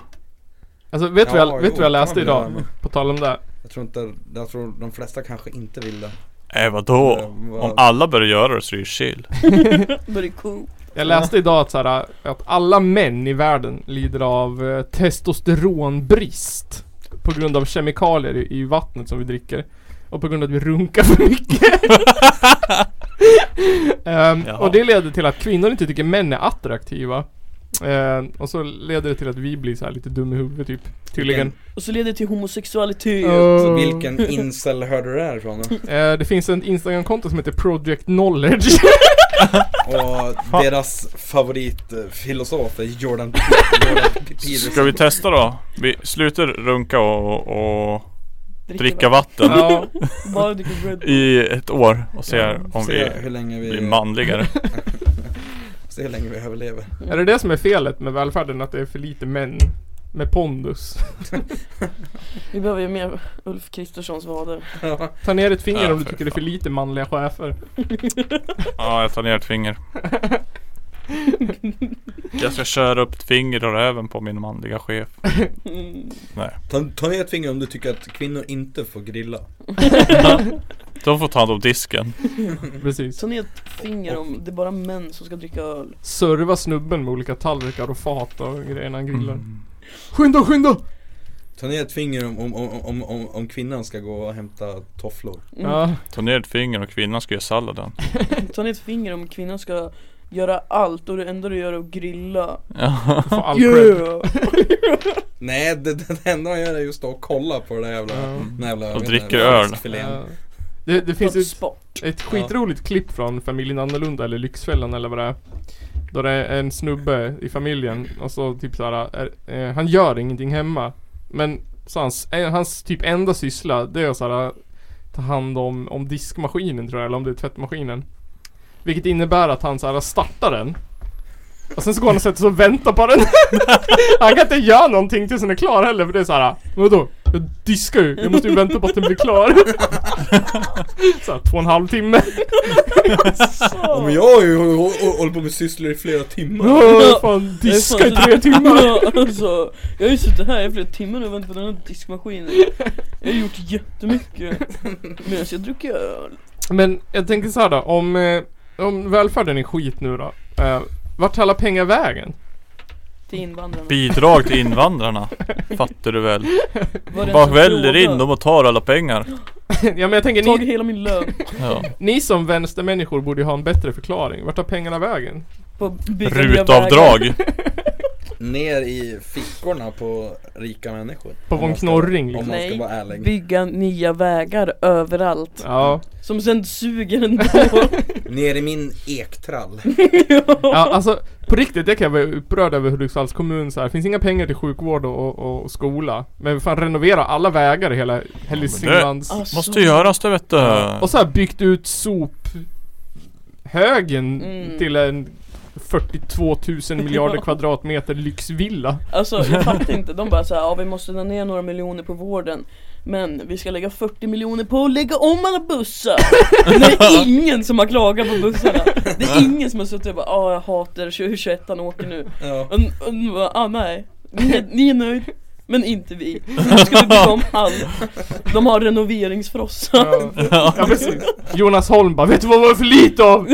D: Alltså vet
A: Ja,
D: du vad jag, alltså,
A: jo,
D: vet du vad jag
A: det
D: läste
A: kan man
D: idag?
A: göra.
D: På tal om det. här.
A: Jag tror inte, jag tror de flesta kanske inte vill det.
E: Äh vadå?
A: Eh, vad-
E: Om alla börjar göra det så är det ju chill.
B: But it cool.
D: Jag läste idag att, så här, att alla män i världen lider av eh, testosteronbrist. På grund av kemikalier i, i vattnet som vi dricker. Och på grund av att vi runkar för mycket. Ehm,
E: Jaha.
D: och det leder till att kvinnor inte tycker män är attraktiva. Ehm, och så leder det till att vi blir så här lite dum i huvudet typ. Tydligen.
B: Och så leder det till homosexualitet.
D: Oh.
A: alltså, Vilken incel hörde du det här ifrån då?
D: Eh, det finns en Instagram-konto som heter Project Knowledge.
A: Och deras favoritfilosof är Jordan, P- Jordan P- Peterson.
E: Ska vi testa då? Vi slutar runka och, och
A: Dricka
E: dricka, vatten.
A: Ja.
B: Bara dricka Red Bull.
E: I ett år och se
A: Ja,
E: om
A: se
E: vi,
A: hur länge vi-
E: blir manligare.
A: Se hur länge vi överlever.
D: Är det det som är felet med välfärden? Att det är för lite män med pondus?
B: Vi behöver ju mer Ulf Kristerssons vader.
D: Ta ner ett finger
E: Ja,
D: om du
E: för
D: tycker det är för lite manliga chefer.
E: Ja, jag tar ner ett finger. Jag ska köra upp ett finger och röven på min manliga chef.
B: Mm.
E: Nej.
A: Ta, ta ner ett finger om du tycker att kvinnor inte får grilla.
E: De får ta hand om disken. Mm.
D: Precis.
B: Ta ner ett finger om det är bara män som ska dricka öl.
D: Serva snubben med olika tallrikar och fat och grejer när han grillar.
E: Mm.
D: Skynda, skynda!
A: Ta ner ett finger om, om, om, om, om, om kvinnan ska gå och hämta tofflor.
D: Ja.
E: Ta ner ett finger och kvinnan ska göra salladen.
B: Mm. Ta ner ett finger om kvinnan ska göra allt och det enda du gör är att grilla.
E: Ja.
D: Få all
B: yeah.
A: Nej, det, det enda hon gör är just att kolla på det där jävla... den jävla jag
E: Och
A: vet
E: dricker
A: inte,
E: öl.
A: fiskfilén.
D: Ja. Det, det finns
B: På
D: ett,
B: sport.
D: ett skitroligt klipp från familjen Annorlunda eller Lyxfällan eller vad det är. Då det är en snubbe i familjen och så typ såhär, är, eh, han gör ingenting hemma. Men så hans, eh, hans typ enda syssla det är att såhär, ta hand om, om diskmaskinen tror jag, eller om det är tvättmaskinen. Vilket innebär att han såhär startar den. Och sen så går han och sätter sig och väntar på den. han kan inte göra någonting tills den är klar heller för det är såhär, vadå? Jag diskar ju, jag måste ju vänta på att den blir klar. Såhär två och en halv timme.
B: Alltså!
A: Ja, men jag har ju hå- hå- hållit på med sysslor i flera timmar.
D: Åh, fan, diska i tre timmar.
B: Ja, alltså, jag har ju suttit här i flera timmar nu och väntat på den här diskmaskinen. Jag har gjort jättemycket. Medan jag dricker öl.
D: Men jag tänker så här då, om, eh, om välfärden är skit nu då. Eh, vart tar alla pengar vägen?
B: Till invandrarna.
E: Bidrag till invandrarna. Fattar du väl?
B: Var det
E: Bara
B: en
E: väljer
B: fråga?
E: in dem och tar alla pengar.
D: ja men jag tänker
B: Tagit
D: ni,
B: hela min lön.
E: Ja.
D: ni som vänstermänniskor borde ju ha en bättre förklaring. Vart tar pengarna vägen?
B: På att bygga nya
E: Rutavdrag.
A: Ner i fickorna på rika människor.
D: På
A: Om
D: von
A: man ska-
D: Knorring, liksom.
A: Om man ska vara ärlig.
B: bygga nya vägar överallt.
D: Ja.
B: Som sen suger ändå.
A: Ner i min ektrall.
D: ja alltså på riktigt, det kan jag vara upprörd över Hudiksvalls kommun så här. finns inga pengar till sjukvård och, och, och skola. Men fan renovera alla vägar i hela Hälsinglands.
B: Alltså,
E: Det måste göras det vet du.
D: Och så här byggt ut sophögen
B: Mm.
D: till en 42 000 miljarder
B: Ja.
D: kvadratmeter lyxvilla.
B: Alltså jag fattar inte, de bara såhär, ja vi måste dra ner några miljoner på vården Men vi ska lägga 40 miljoner på att lägga om alla bussar Det är ingen som har klagat på bussarna Det är ingen som har suttit och bara, ja jag hatar 2021 han åker nu
A: Ja.
B: Och, och de bara, ah nej, ni är, ni är nöjd men inte vi. Nu ska vi bygga om allt. De har renoveringsfrossa.
D: Ja. precis. Jonas Holm bara, vet du vad det var för lite av?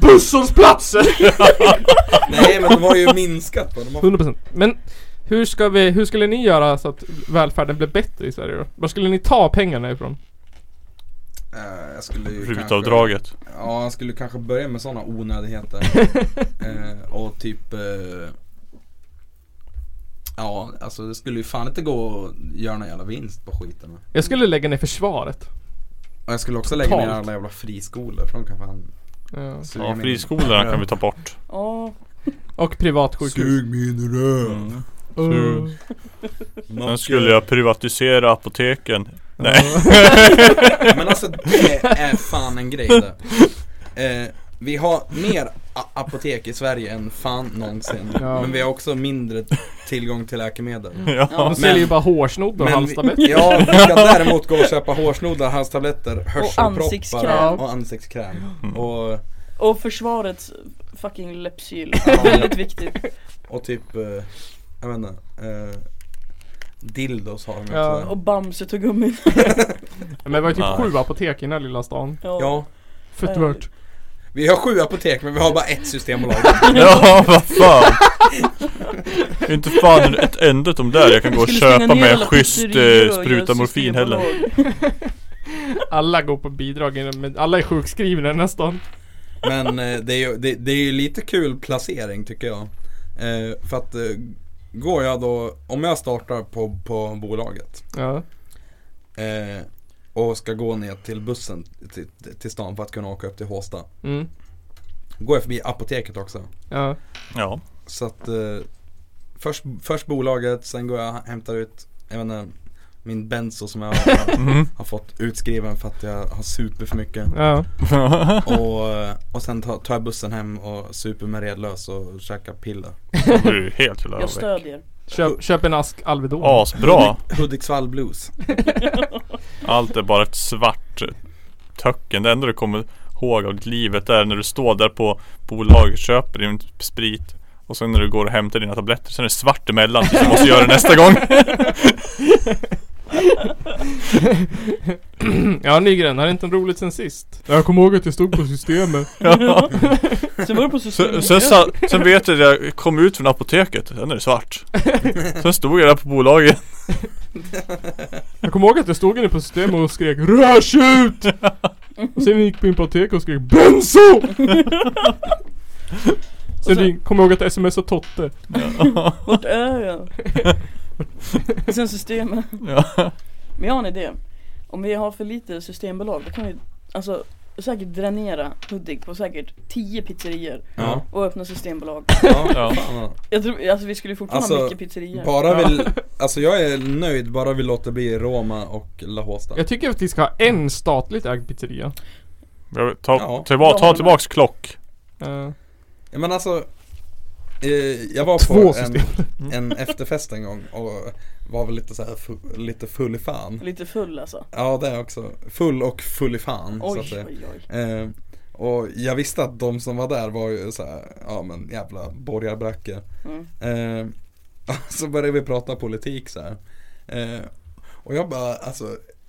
D: Busshållplatser!
A: Nej men de har ju minskat va. De har...
D: 100% Men hur ska vi, hur skulle ni göra så att välfärden blir bättre i Sverige då? Var skulle ni ta pengarna ifrån?
A: Eh, jag skulle ju
E: Rutavdraget.
A: Kanske, ja, jag skulle kanske börja med sådana onödigheter. eh, och typ eh, Ja, alltså det skulle ju fan inte gå att göra någon jävla vinst på skiten. va.
D: Jag skulle lägga ner försvaret.
A: Och jag skulle också lägga ner
D: Totalt.
A: alla jävla friskolor för de kan fan
D: Ja.
A: suga
E: Ja,
A: min-
E: friskolorna kan vi ta bort.
B: Ja,
D: Och privatsjukhus.
A: Sug min röv.
D: Uh.
E: Sen skulle jag privatisera apoteken. Nej.
A: Men alltså det är fan en grej där. Eh, vi har mer a- apotek i Sverige än fan någonsin.
D: Ja.
A: Men vi har också mindre tillgång till läkemedel.
E: Ja.
D: De säljer ju
A: Men-
D: bara hårsnoddar och
A: Men
D: halstabletter.
A: vi, ja, vi ska däremot gå och köpa hårsnoddar, halstabletter, hörselproppar
B: ansiktskräm.
A: och, ansiktskräm. Och,
B: och försvarets fucking Lypsyl.
A: Ja.
B: Väldigt viktigt.
A: och typ, eh, jag vet inte. Eh, Dildos har de också.
D: Ja.
B: Och Bamse tog gummin.
D: Men det var ju typ
A: Nej.
D: sju apotek i den här lilla stan.
B: Ja.
A: Ja.
D: Fett värt.
A: Vi har sju apotek men vi har bara ett systembolag.
E: Ja, vad fan. Inte fan ett enda av de där jag kan gå och
D: Skulle stänga
E: köpa
D: ner
E: mig en
D: alla
E: schysst
D: pizzerior
E: eh,
D: och
E: spruta
D: göra
E: morfin heller.
D: Alla går på bidrag, men alla är sjukskrivna nästan.
A: Men eh, det är ju det, det är ju lite kul placering tycker jag. Eh, för att eh, går jag då, om jag startar på, på bolaget.
D: Ja.
A: Eh, och ska gå ner till bussen till, till stan för att kunna åka upp till Håsta.
D: Mm.
A: Går jag förbi apoteket också.
D: Ja.
E: Ja.
A: Så att eh, först, först bolaget, sen går jag och hämtar ut, jag vet inte, min benzo som jag har,
E: Mhm.
A: har fått utskriven för att jag har super för mycket.
D: Ja.
A: och, eh, och sen tar, tar jag bussen hem och super med redlös och käkar piller.
E: Då blir du helt jävla
B: Jag stödjer.
D: Köp, köp en ask Alvedon.
E: Asbra.
A: Hudiksvall blues.
E: Allt är bara ett svart töcken. Det enda du kommer ihåg av ditt livet är när du står där på bolaget, köper din sprit och sen när du går och hämtar dina tabletter sen är det svart emellan så du måste göra det nästa gång.
D: ja Nygren, har det inte roligt sen sist? Jag kommer ihåg att jag stod på systemet.
E: Ja.
B: Sen var det på
E: Sen,
B: systemet.
E: sen, sa- sen vet jag att jag kom ut från apoteket, sen är det svart. Sen stod jag där på bolaget.
D: Jag kommer ihåg att jag stod inne på systemet och skrek RÖR sig ut! Och sen gick på apotek och skrek BENZO! Sen, sen kommer jag ihåg att smsa Totte.
B: Vart är jag? Och sen systemet.
E: Ja.
B: Men jag har en idé. Om vi har för lite systembolag då kan vi alltså säkert dränera Hudik på säkert 10 pizzerior
A: Ja.
B: och öppna systembolag.
A: Ja, ja. fan.
B: Jag tror, alltså vi skulle fortfarande ha
A: Alltså,
B: mycket pizzerior.
A: bara vill, alltså jag är nöjd bara vi låter bli Roma och La Hosta.
D: Jag tycker att vi ska ha en statligt ägd pizzeria.
E: Jag Ta,
A: Ja.
E: tillba, ta tillbaks klock.
D: Eh,
A: Ja, men alltså eh, Jag var
D: Två
A: på en,
D: system.
A: en efterfest en gång och var väl lite så här fu- lite full i fan
B: Lite full alltså.
A: Ja det är jag också, full och full i fan Mm, så
B: Oj,
A: att säga.
B: oj,
A: Eh, och jag visste att de som var där var ju så här, ja men jävla borgarbrackor
B: Mm.
A: eh, Så började vi prata politik så här. Eh, och jag bara alltså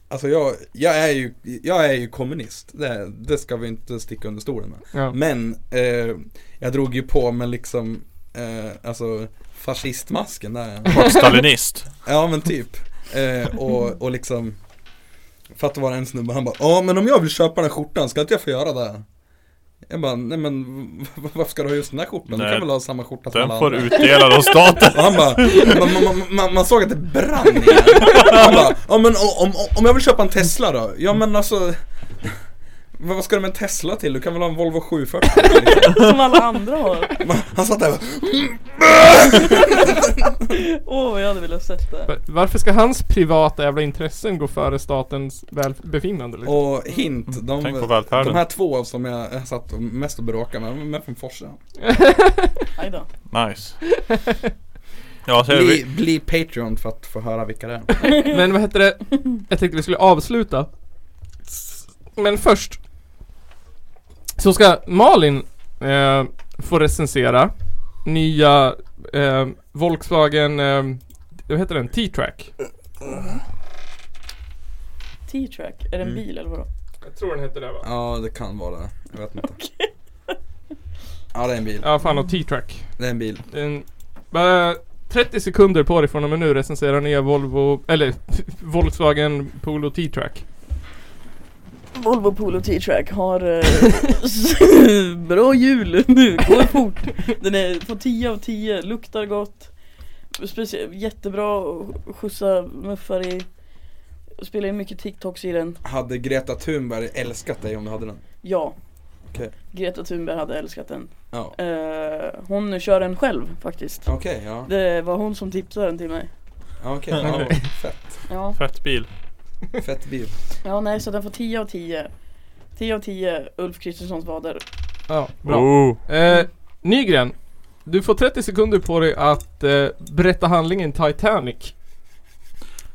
A: Alltså jag, jag, är ju, jag är ju kommunist, det, det ska vi inte sticka under stolen med.
D: Ja.
A: Men eh, jag drog ju på med liksom, eh, alltså fascistmasken där.
E: Kort stalinist.
A: ja men typ. Eh, och, och liksom, för att det var en snubbe, han bara ja men om jag vill köpa den här skjortan, ska inte jag få göra det? Jag bara, nej men v- v- varför ska du ha just den här skjortan? Du
E: Nej,
A: kan väl ha samma skjorta som
E: den
A: alla
E: får
A: andra?"
E: utdelad av staten.
A: Och han bara, man, man, man, man såg att det brann i den. Han bara, ja men o- om, om, om jag vill köpa en Tesla då? Ja men alltså vad vad ska du med en Tesla till? Du kan väl ha en Volvo 740?
B: Som alla andra har.
A: liksom." Han satt där och
B: Åh vad jag hade velat sett det.
D: va- Varför ska hans privata jävla intressen gå före statens välbefinnande liksom?
A: Och hint, de,
D: Tänk på välfärden.
A: de här två som jag jag satt och mest och bråkade med, de är från Forsa.
B: Aj då.
E: Nice. Ja, så är
A: bli,
E: vi,
A: bli Patreon för att få höra vilka det är.
D: Men vad heter det? Jag tänkte vi skulle avsluta. Men först. Så ska Malin eh, få recensera nya eh, Volkswagen, eh, vad heter den? T-track.
B: T-track, är det en
A: Mm.
B: bil eller vadå?
D: Jag tror den heter det va?
A: Ja det kan vara det, jag vet inte. Ja det är en bil.
D: Ja fan och T-track.
A: Det är en bil.
D: En, bara 30 sekunder på dig från och med nu recensera nya Volvo, eller Volkswagen Polo T-track.
B: Volvo Polo T-track har eh, bra hjul nu, går fort. Den är på 10 av 10, luktar gott. Specie- jättebra att skjutsa muffar i. Spelar in mycket TikToks i den.
A: Hade Greta Thunberg älskat dig om du hade den?
B: Ja,
A: Okej.
B: Greta Thunberg hade älskat den.
A: Ja.
B: Eh, hon kör den själv faktiskt.
A: Okej, ja.
B: Det var hon som tipsade den till mig.
A: Ja, Okej, ja,
E: Okej.
A: fett.
B: Ja.
E: Fett bil.
A: Fett bil.
B: Ja, nej, så den får 10 av 10. 10 av 10 Ulf Kristerssons vader.
D: Ja, bra.
E: Oh.
D: Eh, Nygren, du får 30 sekunder på dig att eh, berätta handlingen Titanic.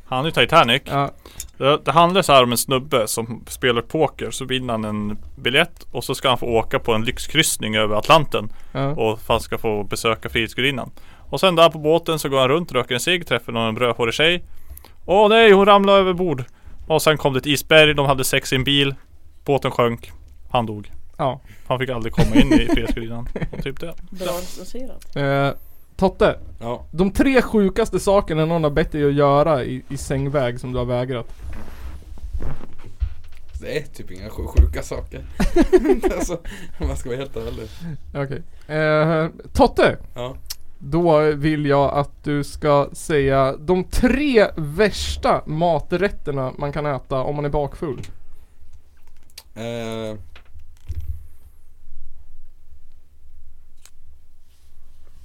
E: Han är Titanic.
D: Ja.
E: Det, det handlar så här om en snubbe som spelar poker. Så vinner han en biljett och så ska han få åka på en lyxkryssning över Atlanten.
D: Ja.
E: Och han ska få besöka Frihetsgudinnan. Och sen där på båten så går han runt, röker en cigg, träffar någon rödhårig tjej. Åh nej, hon ramlade över bord. Och sen kom det ett isberg, de hade sex i en bil. Båten sjönk. Han dog.
D: Ja.
E: Han fick aldrig komma in i fredsgrytan. Och typ det.
B: Bra recenserat.
D: Eh, Totte.
A: Ja.
D: De tre sjukaste sakerna någon har bett dig att göra i, i sängväg som du har vägrat.
A: Det är typ inga sj- sjuka saker. alltså, om man ska vara helt ärlig.
D: Okej. Eh, Totte.
A: Ja.
D: Då vill jag att du ska säga de tre värsta maträtterna man kan äta om man är bakfull.
A: Eh,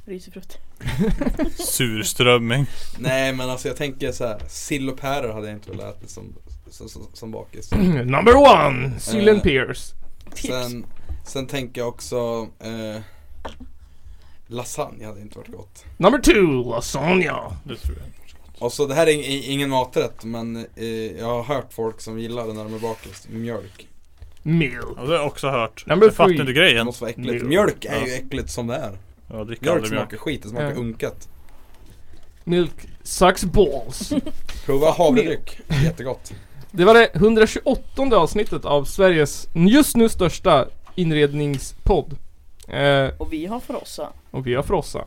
B: Risifrutt.
E: Surströmming.
A: nej men alltså jag tänker så här, sill och päron hade jag inte velat äta som, som, som, som bakis.
D: Number one, sill and pears.
A: Sen, sen tänker jag också eh, lasagne hade inte varit gott.
D: Number two, lasagna.
E: Det tror jag.
A: Och så det här är ing- ing- ingen maträtt men eh, jag har hört folk som gillar det när de är bakis. Mjölk.
D: Meal.
E: Ja, det har jag också hört.
D: Number
E: jag fattar
D: three.
E: inte grejen.
A: måste vara äckligt.
D: Mjölk.
A: Mjölk är ju
E: Ja.
A: äckligt som det är.
E: Jag dricker
A: Mjölk
E: aldrig
A: smakar
E: mjölk.
A: skit, det smakar
D: Ja.
A: unkat.
D: Milk sucks balls.
A: Prova havredryck, jättegott.
D: Det var det 128 avsnittet av Sveriges just nu största inredningspodd. Eh,
B: Och vi har frossa.
D: och vi har Frossa.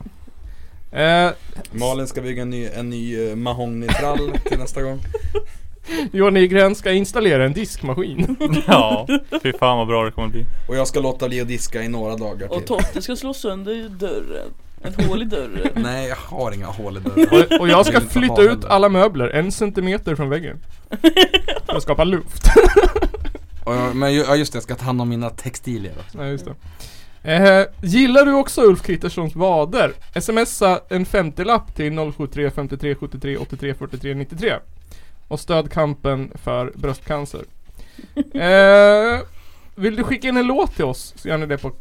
D: Eh,
A: Malin ska bygga en ny, en ny eh, mahognytrall till nästa gång.
D: Johan Nygren ska installera en diskmaskin.
E: Ja, fy fan vad bra det kommer bli.
A: Och jag ska låta bli att diska i några dagar
B: Och
A: till.
B: Totte ska slå sönder dörren. Ett hål i dörren.
A: Nej, jag har inga hål i
D: Och,
A: dörren.
D: och jag ska
A: vill inte
D: flytta
A: ha
D: ut
A: det.
D: alla möbler en centimeter från väggen. För att skapa luft.
A: Och jag, men ju- ja, just det, jag ska ta hand om mina textilier också.
D: Nej, just det. Eh, gillar du också Ulf Kristerssons vader? Smsa en 50-lapp till 073 53 73 83 43 93 och stöd kampen för bröstcancer. Eh, vill du skicka in en låt till oss så gör ni det på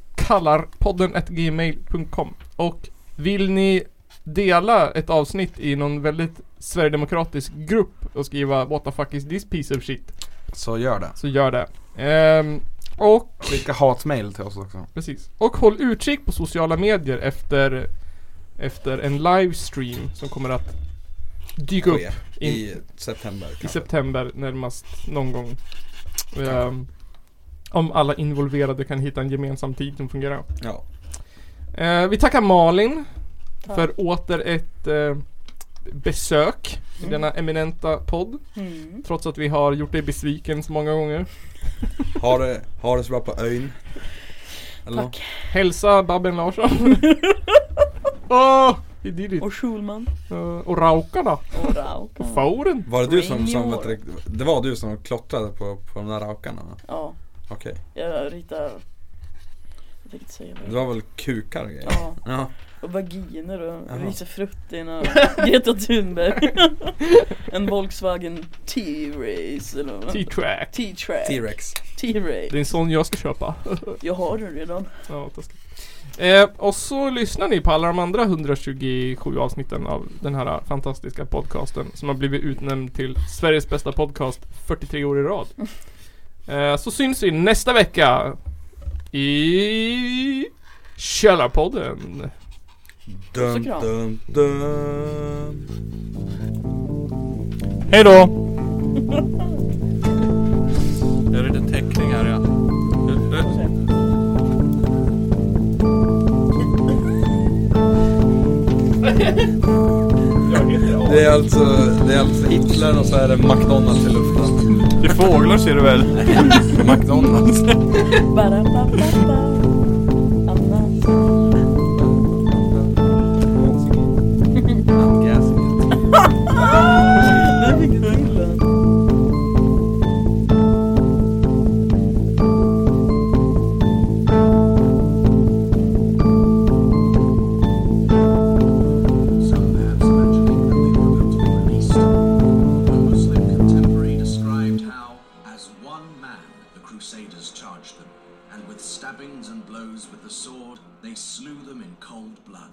D: kallarpodden.gmail.com och vill ni dela ett avsnitt i någon väldigt sverigedemokratisk grupp och skriva what the fuck is this piece of shit
A: Så gör det.
D: så gör det. Ehm, och
A: Skicka hatmail till oss också.
D: Precis. Och håll utkik på sociala medier efter, efter en livestream som kommer att dyka upp
A: Ske I
D: in, i,
A: september kanske.
D: september närmast någon gång. Ehm, om alla involverade kan hitta en gemensam tid som fungerar.
A: Ja.
D: Eh, vi tackar Malin
B: Tack.
D: för åter ett eh, besök i
B: Mm.
D: denna eminenta podd.
B: Mm.
D: Trots att vi har gjort dig besviken så många gånger.
A: Ha det, ha det så bra på ön. Eller?
B: Tack.
D: Hälsa Babben Larsson. Åh, vi did it.
B: Och Schulman.
D: Eh, och Raukarna.
B: Och Rauka.
D: Och Fauren.
A: Var det du som, som
B: Rainier.
A: vet du, det var du som klottrade på, på de där raukarna? va?
B: Ja,
A: Okej.
B: jag ritar... Jag tänkte säga vad
A: Det
B: jag-
A: var väl kukar och grejer?
B: Ja,
A: Ja.
B: och vaginer och
A: Jaha.
B: risifruttin och Greta Thunberg En Volkswagen T-Race eller vad?
D: T-track.
B: T-Track
A: T-Rex.
D: Det är
B: T-Ray
D: en sån jag ska köpa.
B: Jag har den redan
D: ja, taskigt. Eh, och så lyssnar ni på alla de andra 127 avsnitten av den här fantastiska podcasten som har blivit utnämnd till Sveriges bästa podcast 43 år i rad. Eh, så syns vi nästa vecka i Källarpodden.
A: Dum,
B: kram.
A: dum, dum.
E: Hej då! Jag är lite täckning här ja.
A: Det är alltså, det är alltså Hitler och så är det McDonalds i luften.
E: Det är fåglar ser du väl?
A: McDonalds.
B: Ba-da-ba-ba-ba. Anna Där fick du till den
M: A Muslim contemporary described how, as one man, the Crusaders charged them, and with stabbings and blows with the sword, they slew them in cold blood.